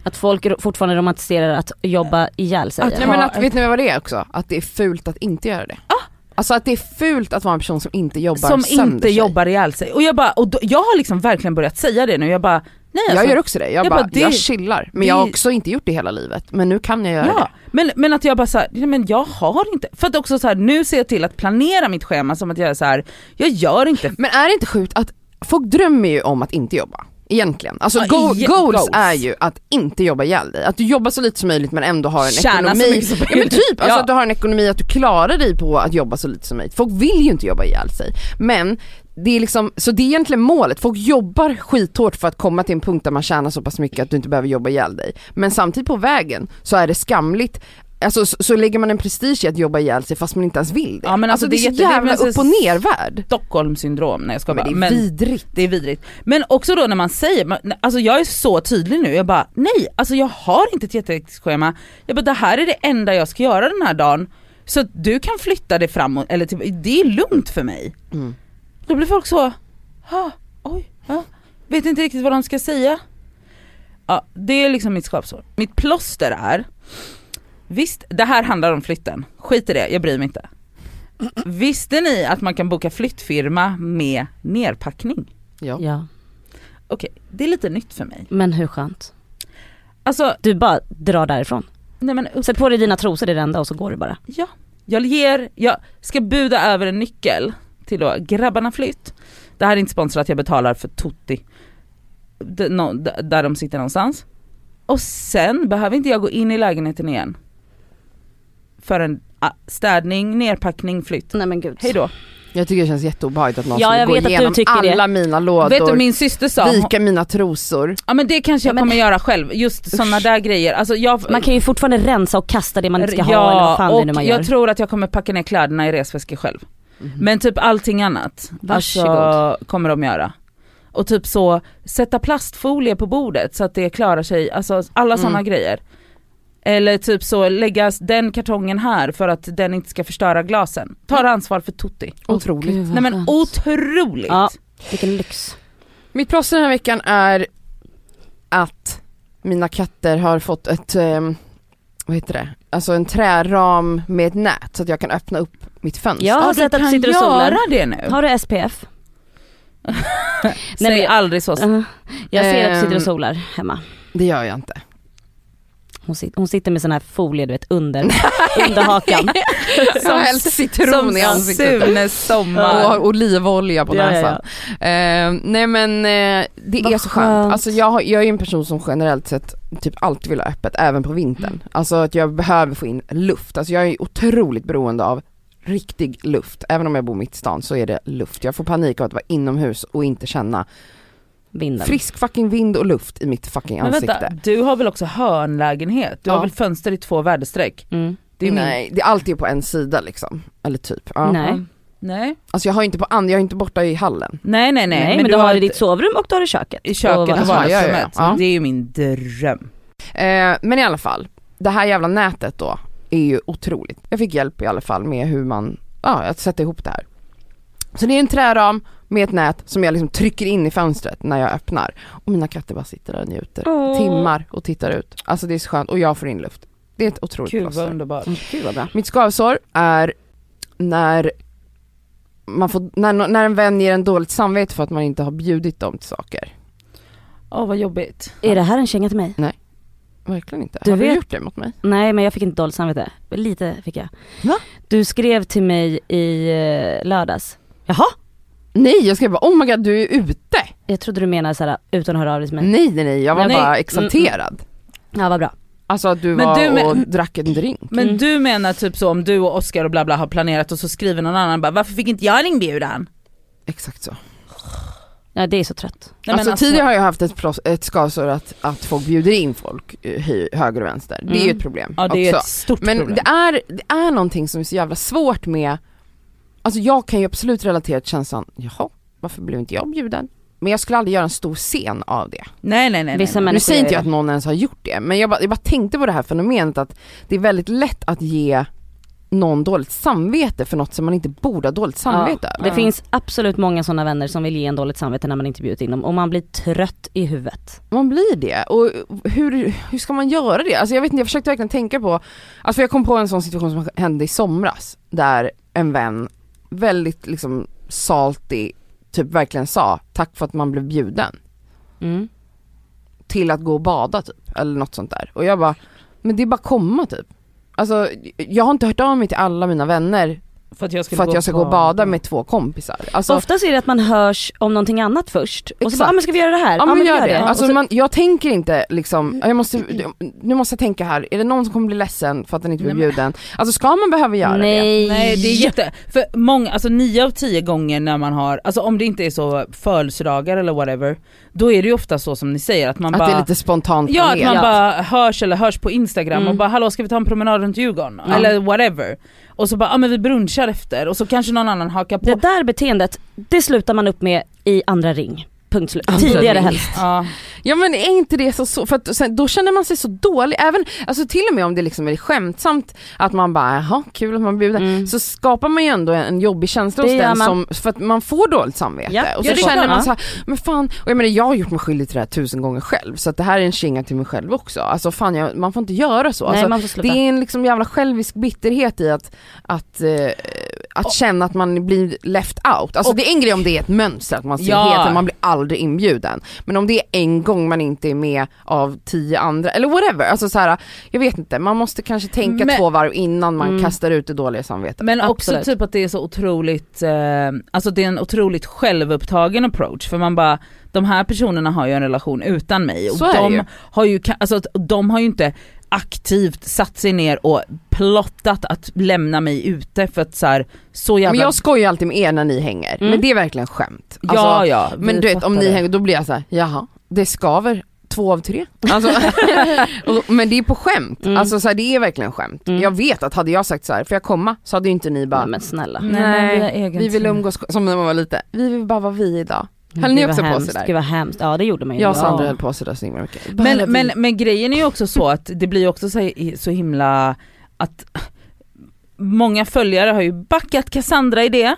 S4: Att folk ro- fortfarande romantiserar att jobba ihjäl sig.
S3: Att-
S2: Nej, men att, vet ni vad det är också? Att det är fult att inte göra det. Alltså att det är fult att vara en person som inte jobbar
S3: Ah! som
S2: sönder
S3: inte
S2: sig.
S3: jobbar ihjäl sig. Och jag bara, och då, jag har liksom verkligen börjat säga det nu, jag bara, nej alltså,
S2: Jag gör också det, jag,
S3: Jag
S2: bara,
S3: bara, det-
S2: jag chillar. Men
S3: det-
S2: jag har också inte gjort det hela livet, men nu kan jag göra det.
S3: Ja, men, men att jag bara såhär, nej men jag har inte, för att också så här, nu ser jag till att planera mitt schema som att jag är så här, jag gör inte
S2: Alltså, Men är det inte sjukt att folk drömmer ju om att inte jobba? Egentligen. Alltså
S3: Ja,
S2: go-
S3: igen-
S2: goals,
S3: goals.
S2: är ju att inte jobba ihjäl dig. Att du jobbar så lite som möjligt men ändå har en
S3: Tjäna så
S2: ekonomi.
S3: mycket som
S2: ja, men
S3: möjligt.
S2: typ, alltså
S3: Ja.
S2: att du har en ekonomi att du klarar dig på att jobba så lite som möjligt. Folk vill ju inte jobba ihjäl sig. Men det är liksom, så det är egentligen målet. Folk jobbar skithårt för att komma till en punkt där man tjänar så pass mycket att du inte behöver jobba ihjäl dig. Men samtidigt på vägen så är det skamligt Alltså så, så lägger man en prestige i att jobba ihjäl sig fast man inte ens vill det.
S3: Ja, men
S2: alltså,
S3: alltså,
S2: det är
S3: det
S2: så
S3: är jätte- det är
S2: jävla
S3: väl så-
S2: upp och nervärd.
S3: Stockholmssyndrom, nej jag ska
S2: Men
S3: bara.
S2: det är vidrigt.
S3: Det är vidrigt. Men också då när man säger, man- alltså jag är så tydlig nu, jag bara nej, alltså jag har inte ett jättehektiskt schema. Jag bara det här är det enda jag ska göra den här dagen. Så att du kan flytta det framåt, eller till, det är lugnt för mig.
S2: Mm.
S3: Då blir folk så, ha, oj, ja, vet inte riktigt vad de ska säga. Ja, det är liksom mitt skapsår. Mitt plåster är, visst det här handlar om flytten, skit i det, jag bryr mig inte. Visste ni att man kan boka flyttfirma med nerpackning?
S2: Ja.
S4: Ja.
S3: Okej, det är lite nytt för mig.
S4: Men hur skönt.
S3: Alltså,
S4: Du bara drar därifrån.
S3: nej men upp,
S4: Sätt på dig dina trosor, det är det enda och så går du bara.
S3: ja. Jag ger, jag ska buda över en nyckel till då grabbarna flytt. Det här är inte sponsrat, jag betalar för Tutti. D- nå- d- där de sitter någonstans. Och sen behöver inte jag gå in i lägenheten igen. För en ah, städning, nerpackning, flytt.
S4: Nej men gud.
S3: Hej då.
S2: Jag tycker det känns jätteobehagligt att någon
S4: Ja,
S2: skulle
S4: jag
S2: gå
S4: vet att du
S2: igenom
S4: tycker det.
S2: alla mina lådor,
S3: Vet du min syster sa, hon-
S2: vika mina trosor.
S3: ja men det kanske
S4: Ja,
S3: jag
S4: men-
S3: kommer göra själv, just sådana där grejer. Alltså jag,
S4: Man kan ju fortfarande rensa och kasta det man inte ska ha eller vad fan det är
S3: och
S4: nu man gör. Mhm.
S3: jag tror att jag kommer packa ner kläderna i resväskor själv. Men typ allting annat,
S4: Varsågod.
S3: alltså, kommer de göra. Och typ så, sätta plastfolie på bordet så att det klarar sig, alltså alla
S4: Mm.
S3: sådana grejer. Eller typ så, lägga den kartongen här för att den inte ska förstöra glasen. Ta ansvar för Tutti.
S2: Otroligt.
S4: Gud, vad
S3: Nej men
S4: skönt.
S3: otroligt!
S4: Ja. Vilken lyx.
S2: Mitt plåster den här veckan är att mina katter har fått ett, ehm, vad heter det, alltså en träram med ett nät så att jag kan öppna upp mitt fönster.
S4: Jag har
S3: Ja,
S4: sett att du
S3: kan
S4: sitter och solar.
S3: göra det nu.
S4: Har du SPF?
S3: Säg
S4: men jag-
S3: aldrig så.
S4: Eh, Jag ser att du sitter
S2: Ehm.
S4: och solar hemma.
S2: Det gör jag inte.
S4: Hon, sit, hon sitter med sån här folie du vet under, under hakan.
S2: Som, jag har hällt citron
S3: Som
S2: i ansiktet.
S3: Sune Sommar.
S2: Och har olivolja på
S4: Mm. Ja, ja,
S2: näsan.
S4: ja.
S2: Eh, nej men eh, det
S4: Vad
S2: är så skönt.
S4: skönt.
S2: Alltså jag, har- jag är ju en person som generellt sett typ alltid vill ha öppet, även på
S4: Mm.
S2: vintern. Alltså att jag behöver få in luft. Alltså jag är ju otroligt beroende av riktig luft. Även om jag bor mitt i stan så är det luft. Jag får panik av att vara inomhus och inte känna
S4: Vinden.
S2: frisk fucking vind och luft i mitt fucking
S3: Men
S2: ansikte.
S3: vänta, du har väl också hörnlägenhet? Du
S2: Ja.
S3: har väl fönster i två väderstreck?
S4: Mm.
S3: Det är min-
S2: Nej, det är alltid på en sida liksom. Eller typ. Ja.
S4: Nej.
S3: Nej.
S2: Alltså jag har ju inte på and- jag är inte borta i hallen.
S3: Nej nej nej.
S4: Nej, men, du har ju
S3: ett-
S4: ditt sovrum och du har i köket.
S3: i köket
S4: Och
S3: och
S4: vad-
S2: Jaha, ja, ja, ja.
S3: vardagsrummet.
S2: Ja.
S3: Det är ju min dröm.
S2: Eh, men i alla fall, det här jävla nätet då är ju otroligt. Jag fick hjälp i alla fall med hur man, ja att sätta ihop det här. Så det är en träram med ett nät som jag liksom trycker in i fönstret när jag öppnar. Och mina katter bara sitter där och njuter.
S4: Åh.
S2: Timmar och tittar ut. Alltså det är så skönt och jag får in luft. Det är ett otroligt
S3: Gud vad
S2: plåster.
S3: underbart.
S4: Mm, Gud vad bra.
S2: Mitt skavsår är när man får, när, nå- när en vän ger en dåligt samvete för att man inte har bjudit dem till saker.
S3: Åh vad jobbigt.
S4: Är det här en känga till mig?
S2: Verkligen inte.
S4: Du
S2: har
S4: vet-
S2: du gjort det mot mig?
S4: Nej men jag fick inte dåligt samvete. Lite fick jag.
S2: Va?
S4: Du skrev till mig i eh, lördags. Jaha?
S2: Nej jag skrev bara oh my god du är ute!
S4: Jag trodde du menade såhär utan att höra av dig till mig.
S2: Nej nej nej, jag var
S4: Nej.
S2: bara exalterad.
S4: Ja vad bra.
S2: Alltså att du
S3: Mm, Men
S2: var
S3: du men-
S2: och drack en drink.
S3: Men
S4: Mm.
S3: du menar typ så om du och Oscar och bla bla har planerat och så skriver någon annan bara varför fick inte jag en inbjudan?
S2: Exakt så.
S4: Ja det är så trött.
S3: Nej, men
S2: alltså, tidigare har jag haft ett, plås, ett skavsår att, att folk bjuder in folk eh, hö- höger och vänster. Det är ju
S4: Mm.
S2: ett problem
S3: Ja det är
S2: också.
S3: ett stort
S2: Men
S3: problem.
S2: det är, det är någonting som är så jävla svårt med, alltså jag kan ju absolut relatera till känslan, jaha varför blev inte jag bjuden? Men jag skulle aldrig göra en stor scen av det.
S3: Nej nej nej. nej,
S4: Vissa
S3: nej.
S2: nu
S4: människor
S2: säger inte jag
S4: gör
S2: att någon ens har gjort det, men jag bara, jag bara tänkte på det här fenomenet att det är väldigt lätt att ge någon dåligt samvete för något som man inte borde ha dåligt samvete
S4: Ja,
S2: över.
S4: det finns absolut många sådana vänner som vill ge en dåligt samvete när man inte bjudit in dem och man blir trött i huvudet.
S2: Man blir det och hur, hur ska man göra det? Alltså jag vet inte, jag försökte verkligen tänka på, alltså för jag kom på en sån situation som hände i somras där en vän väldigt liksom salty typ verkligen sa tack för att man blev bjuden
S4: Mm.
S2: till att gå och bada typ eller något sånt där och jag bara, men det är bara komma typ. Alltså jag har inte hört av mig till alla mina vänner
S3: För att jag, skulle
S2: för att jag ska gå och bada med två kompisar. Alltså,
S4: Oftast är det att man hörs om någonting annat först och så
S2: Exakt.
S4: bara, ah, men ska vi göra det här?
S2: Ja men,
S4: vi
S2: gör det.
S4: Och
S2: Alltså,
S4: så,
S2: man, jag tänker inte liksom, jag måste, nu måste jag tänka här, är det någon som kommer bli ledsen för att den inte blir
S3: Nej, men-
S2: bjuden? Alltså ska man behöva göra det?
S4: nej.
S3: Nej det är jätte, för många, alltså nio av tio gånger när man har, alltså om det inte är så födelsedagar eller whatever, då är det ju ofta så som ni säger att man
S2: Att
S3: bara
S2: det är lite spontant
S3: Ja att
S2: planerat.
S3: man bara hörs eller hörs på instagram
S4: Mm.
S3: och bara hallå ska vi ta en promenad runt Djurgården?
S4: Ja.
S3: Eller whatever. Och så bara ja ah, men vi brunchar efter och så kanske någon annan hakar på.
S4: Det där beteendet, det slutar man upp med i andra ring. Punkt slut. Tidigare
S2: ring.
S4: helst.
S3: Ja.
S2: Ja men är inte det så, så för att sen, då känner man sig så dålig, även, alltså till och med om det liksom är skämtsamt att man bara jaha kul att man bjuder,
S4: Mm.
S2: så skapar man ju ändå en jobbig känsla
S4: Det
S2: hos
S4: gör
S2: den
S4: man.
S2: som, för att man får dåligt samvete.
S4: Ja.
S2: Och
S4: Ja,
S2: så
S4: det är
S2: känner
S4: klart.
S2: man så här, men fan, och jag menar jag har gjort mig skyldig till det här tusen gånger själv så att det här är en kinga till mig själv också. Alltså fan jag, man får inte göra så.
S4: Nej
S2: alltså,
S4: man får
S2: det
S4: sluta.
S2: är en liksom jävla självisk bitterhet i att, att, eh, att känna att man blir left out. Alltså det är en grej om det är ett mönster, att man ser
S3: Ja.
S2: heten, man blir aldrig inbjuden. Men om det är en gång man inte är med av tio andra, eller whatever. Alltså så här, jag vet inte, man måste kanske tänka
S3: Men-
S2: två varv innan man
S4: Mm.
S2: kastar ut det dåliga samvetet.
S3: Men också
S4: Absolut.
S3: typ att det är så otroligt, eh, alltså det är en otroligt självupptagen approach för man bara, de här personerna har ju en relation utan mig och
S2: Så är det
S3: de,
S2: ju.
S3: Har ju, ka- alltså, att de har ju inte aktivt satt sig ner och plottat att lämna mig ute för att så, här, så jävla...
S2: Men jag skojar alltid med er när ni hänger,
S4: Mm.
S2: men det är verkligen skämt. Alltså,
S3: ja ja. vi
S2: Men du vet om
S3: fattar
S2: ni
S3: det.
S2: hänger, då blir jag så här, jaha, det skaver två av tre. Alltså, och, men det är på skämt,
S4: Mm.
S2: alltså så här, det är verkligen skämt.
S4: Mm.
S2: Jag vet att hade jag sagt så här, får jag komma? Så hade ju inte ni bara,
S4: Nej, men snälla.
S3: Nej,
S2: Nej,
S3: men vi, har egen
S2: vi vill
S3: tid.
S2: umgås, som när man var lite, vi vill bara vara vi idag. Höll
S4: Mm. Gud,
S2: ni
S4: vad
S2: också på
S4: hemskt.
S2: sådär?
S4: Gud vad hemskt. Ja det gjorde man ju.
S2: Jag och
S4: då.
S2: Sandra
S4: Ja.
S2: höll på sådär så himla mycket. Bara vi.
S3: Men, men, men grejen är ju också så att det blir ju också så, här- så himla att många följare har ju backat Cassandra i det.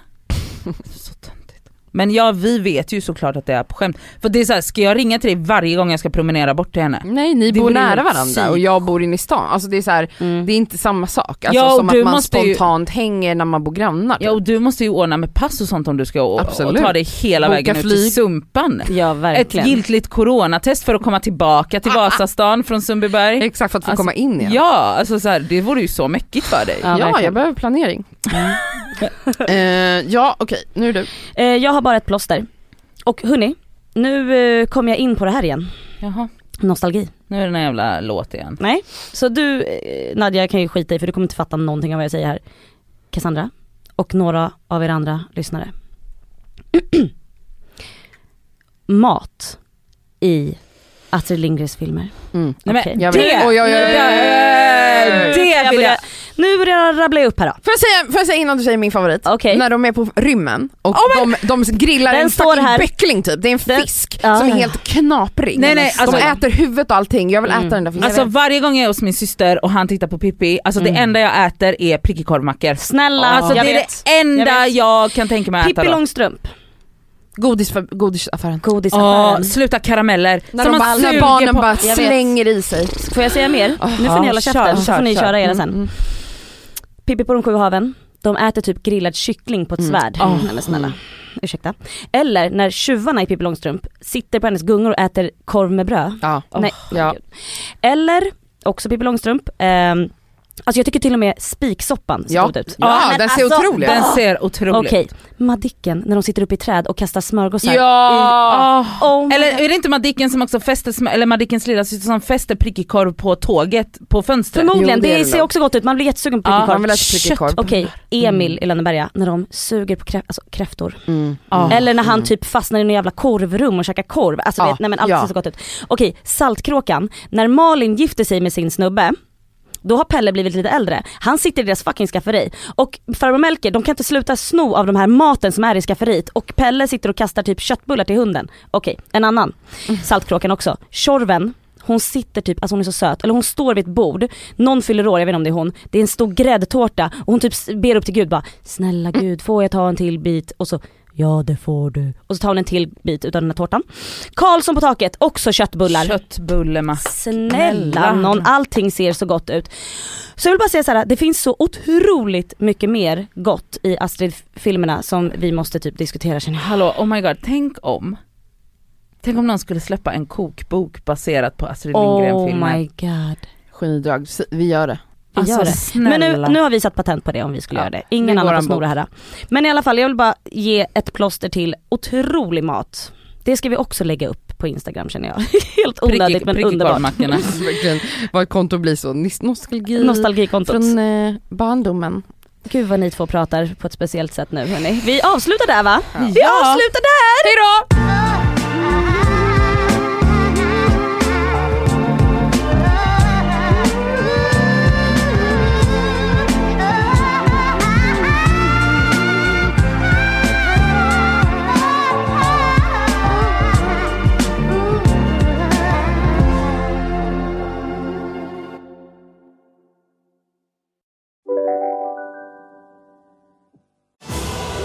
S3: Så töntigt. Men ja, vi vet ju såklart att det är på skämt. För det är så här, ska jag ringa till dig varje gång jag ska promenera bort till henne?
S2: Nej ni
S3: Det
S2: bor
S3: blir ju
S2: nära varandra och
S3: psyk.
S2: jag bor inne i stan, alltså det är så här,
S4: Mm.
S2: det är inte samma sak. Alltså
S3: Ja, och
S2: som
S3: du
S2: att man
S3: måste ju-
S2: spontant hänger när man bor grannar. typ.
S3: Ja och du måste ju ordna med pass och sånt om du ska och, och
S2: Absolut.
S3: ta dig hela
S2: Boka
S3: vägen ut
S2: flyg.
S3: till Sumpan.
S4: Ja
S3: Ett
S4: verkligen.
S3: giltigt coronatest för att komma tillbaka till Vasastan från Sundbyberg.
S2: Exakt för att få
S3: Alltså,
S2: komma in igen.
S3: Ja, alltså så här, det vore ju så mäckigt för dig.
S4: Ja,
S2: Ja,
S4: verkligen.
S2: jag behöver planering.
S3: Mm.
S2: Eh, ja okej, nu är du.
S4: Eh, jag har bara ett plåster. Och hörni, nu eh, kom jag in på det här igen.
S3: Jaha,
S4: Nostalgi.
S3: nu är det den här jävla låt igen.
S4: Så du eh, Nadja kan ju skita i för du kommer inte fatta någonting av vad jag säger här. Cassandra och några av er andra lyssnare. Mat i Astrid Lindgrens filmer.
S2: Mm.
S3: Nej, men
S4: Okej.
S2: Jag vet.
S3: Det-
S2: Oj, oj, oj, oj, oj. Mm.
S3: Det- Det vill jag.
S4: börjar- Nu börjar jag rabbla upp här då.
S2: Får jag, säga, får jag säga innan du säger min favorit?
S4: Okej. Oh
S2: När de är på rymmen och de, de grillar
S4: Den
S2: en
S4: står
S2: fucking
S4: här.
S2: bäckling typ, det är en
S4: Den-
S2: fisk
S4: Ja.
S2: som är helt knaprig.
S3: Nej, nej, alltså-
S2: de äter huvudet och allting, jag vill
S4: Mm.
S2: äta den där fisken.
S3: Alltså varje gång jag är hos min syster och han tittar på Pippi, alltså det
S4: Mm.
S3: enda jag äter är prickig korvmackor.
S4: Snälla,
S3: Alltså
S4: jag
S3: det är
S4: vet.
S3: det enda
S4: Jag
S3: jag,
S4: vet.
S3: kan tänka mig att äta
S4: Pippi
S3: då.
S4: Långstrump,
S2: Godis för, godisaffären.
S4: godisaffären.
S3: Åh, sluta karameller.
S2: När,
S3: Som
S2: de
S3: man
S2: bara, när
S3: suger
S2: barnen
S3: på-
S2: bara
S4: vet.
S2: slänger i sig.
S4: Får jag säga mer?
S2: Ah,
S4: nu får
S3: Ja,
S4: ni hålla
S3: kör,
S4: käften så
S3: kör,
S4: får ni
S3: kör.
S4: köra era sen.
S2: Mm.
S4: Pippi på de sju haven, de äter typ grillad kyckling på ett
S2: Mm.
S4: svärd.
S3: Åh.
S4: Nej men snälla, ursäkta. Eller när tjuvarna i Pippi Långstrump sitter på hennes gungor och äter korv med bröd.
S2: Ja.
S3: Oh,
S4: Nej,
S2: ja.
S4: herregud. Eller, också Pippi Långstrump, ehm, alltså jag tycker till och med spiksoppan ser
S2: Ja.
S4: god ut.
S2: Ja,
S4: Men
S2: den ser otrolig ut.
S3: alltså, Den ser otrolig ut.
S4: Okej, Madicken när de sitter uppe i träd och kastar smörgåsar.
S2: Ja!
S3: Åh.
S4: Oh my
S3: Eller
S4: God.
S3: är det inte Madicken som också fäster, sm- eller Madickens lilla syster som fäster prickig korv på tåget på fönstret?
S4: Förmodligen,
S2: Jo, det
S4: det,
S2: är det
S4: ser
S2: nog.
S4: också gott ut, man blir jättesugen på
S3: Ja,
S4: prickig
S2: Man
S4: korv.
S2: vill äta kycklingkorv.
S4: Okej, Emil i Lönneberga, när de suger på krä- alltså, kräftor.
S2: Mm.
S3: Ja.
S4: Eller när han typ fastnar i något jävla korvrum och käkar korv. Alltså,
S2: Ja,
S4: vet, nej, men allt
S2: ja.
S4: ser så gott ut. Okej, Saltkråkan. När Malin gifter sig med sin snubbe, då har Pelle blivit lite äldre. Han sitter i deras fucking skafferi. Och farbror Melker, de kan inte sluta sno av de här maten som är i skafferiet. Och Pelle sitter och kastar typ köttbullar till hunden. Okej, en annan. Saltkråkan också. Tjorven. Hon sitter typ, alltså hon är så söt, eller hon står vid ett bord, någon fyller år, jag vet inte om det är hon, det är en stor gräddtårta och hon typ s- ber upp till gud bara “snälla
S3: Mm.
S4: gud, får jag ta en till bit?” och så “ja det får du” och så tar hon en till bit utav den här tårtan. Karlsson på taket, också köttbullar.
S3: Köttbullemacka.
S4: Snälla någon, allting ser så gott ut. Så jag vill bara säga så här, det finns så otroligt mycket mer gott i Astrid-filmerna som vi måste typ diskutera känner jag.
S3: Hallå, oh my god, tänk om Tänk om någon skulle släppa en kokbok baserat på Astrid
S4: Oh
S3: Lindgren-filmen.
S4: my god.
S2: Genidrag, Si- vi gör det.
S4: Vi
S3: Alltså,
S4: gör det.
S3: snälla.
S4: Men nu, nu har vi satt patent på det om vi skulle
S2: Ja,
S4: göra det.
S2: det
S4: Ingen
S2: är
S4: annan får
S2: våran
S4: sno det här. Men i alla fall, jag vill bara ge ett plåster till otrolig mat. Det ska vi också lägga upp på Instagram känner jag. Helt onödigt men underbart.
S3: korvmackorna.
S2: Verkligen, vad ett konto blir så. Nis- Nostalgi
S4: Nostalgikontot.
S2: från eh, barndomen.
S4: Gud vad ni två pratar på ett speciellt sätt nu hörni. Vi avslutar där va? Vi
S3: Ja.
S4: avslutar där! Hejdå!
S7: Ooh.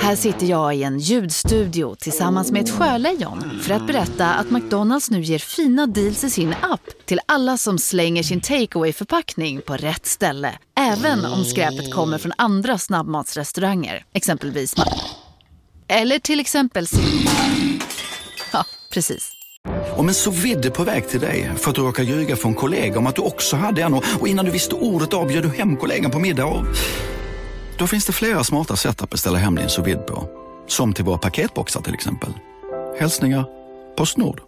S8: Här sitter jag i en ljudstudio tillsammans med ett sjölejon för att berätta att McDonalds nu ger fina deals i sin app till alla som slänger sin takeaway förpackning på rätt ställe. Även om skräpet kommer från andra snabbmatsrestauranger, exempelvis Ma- Eller till exempel Sim- Ja, precis.
S9: Om en så vidde på väg till dig för att du råkar ljuga från kollega om att du också hade en och och innan du visste ordet av bjöd du hem kollegan på middag och... Då finns det flera smarta sätt att beställa hem din sous vide på. Som till våra paketboxar till exempel. Hälsningar Postnord.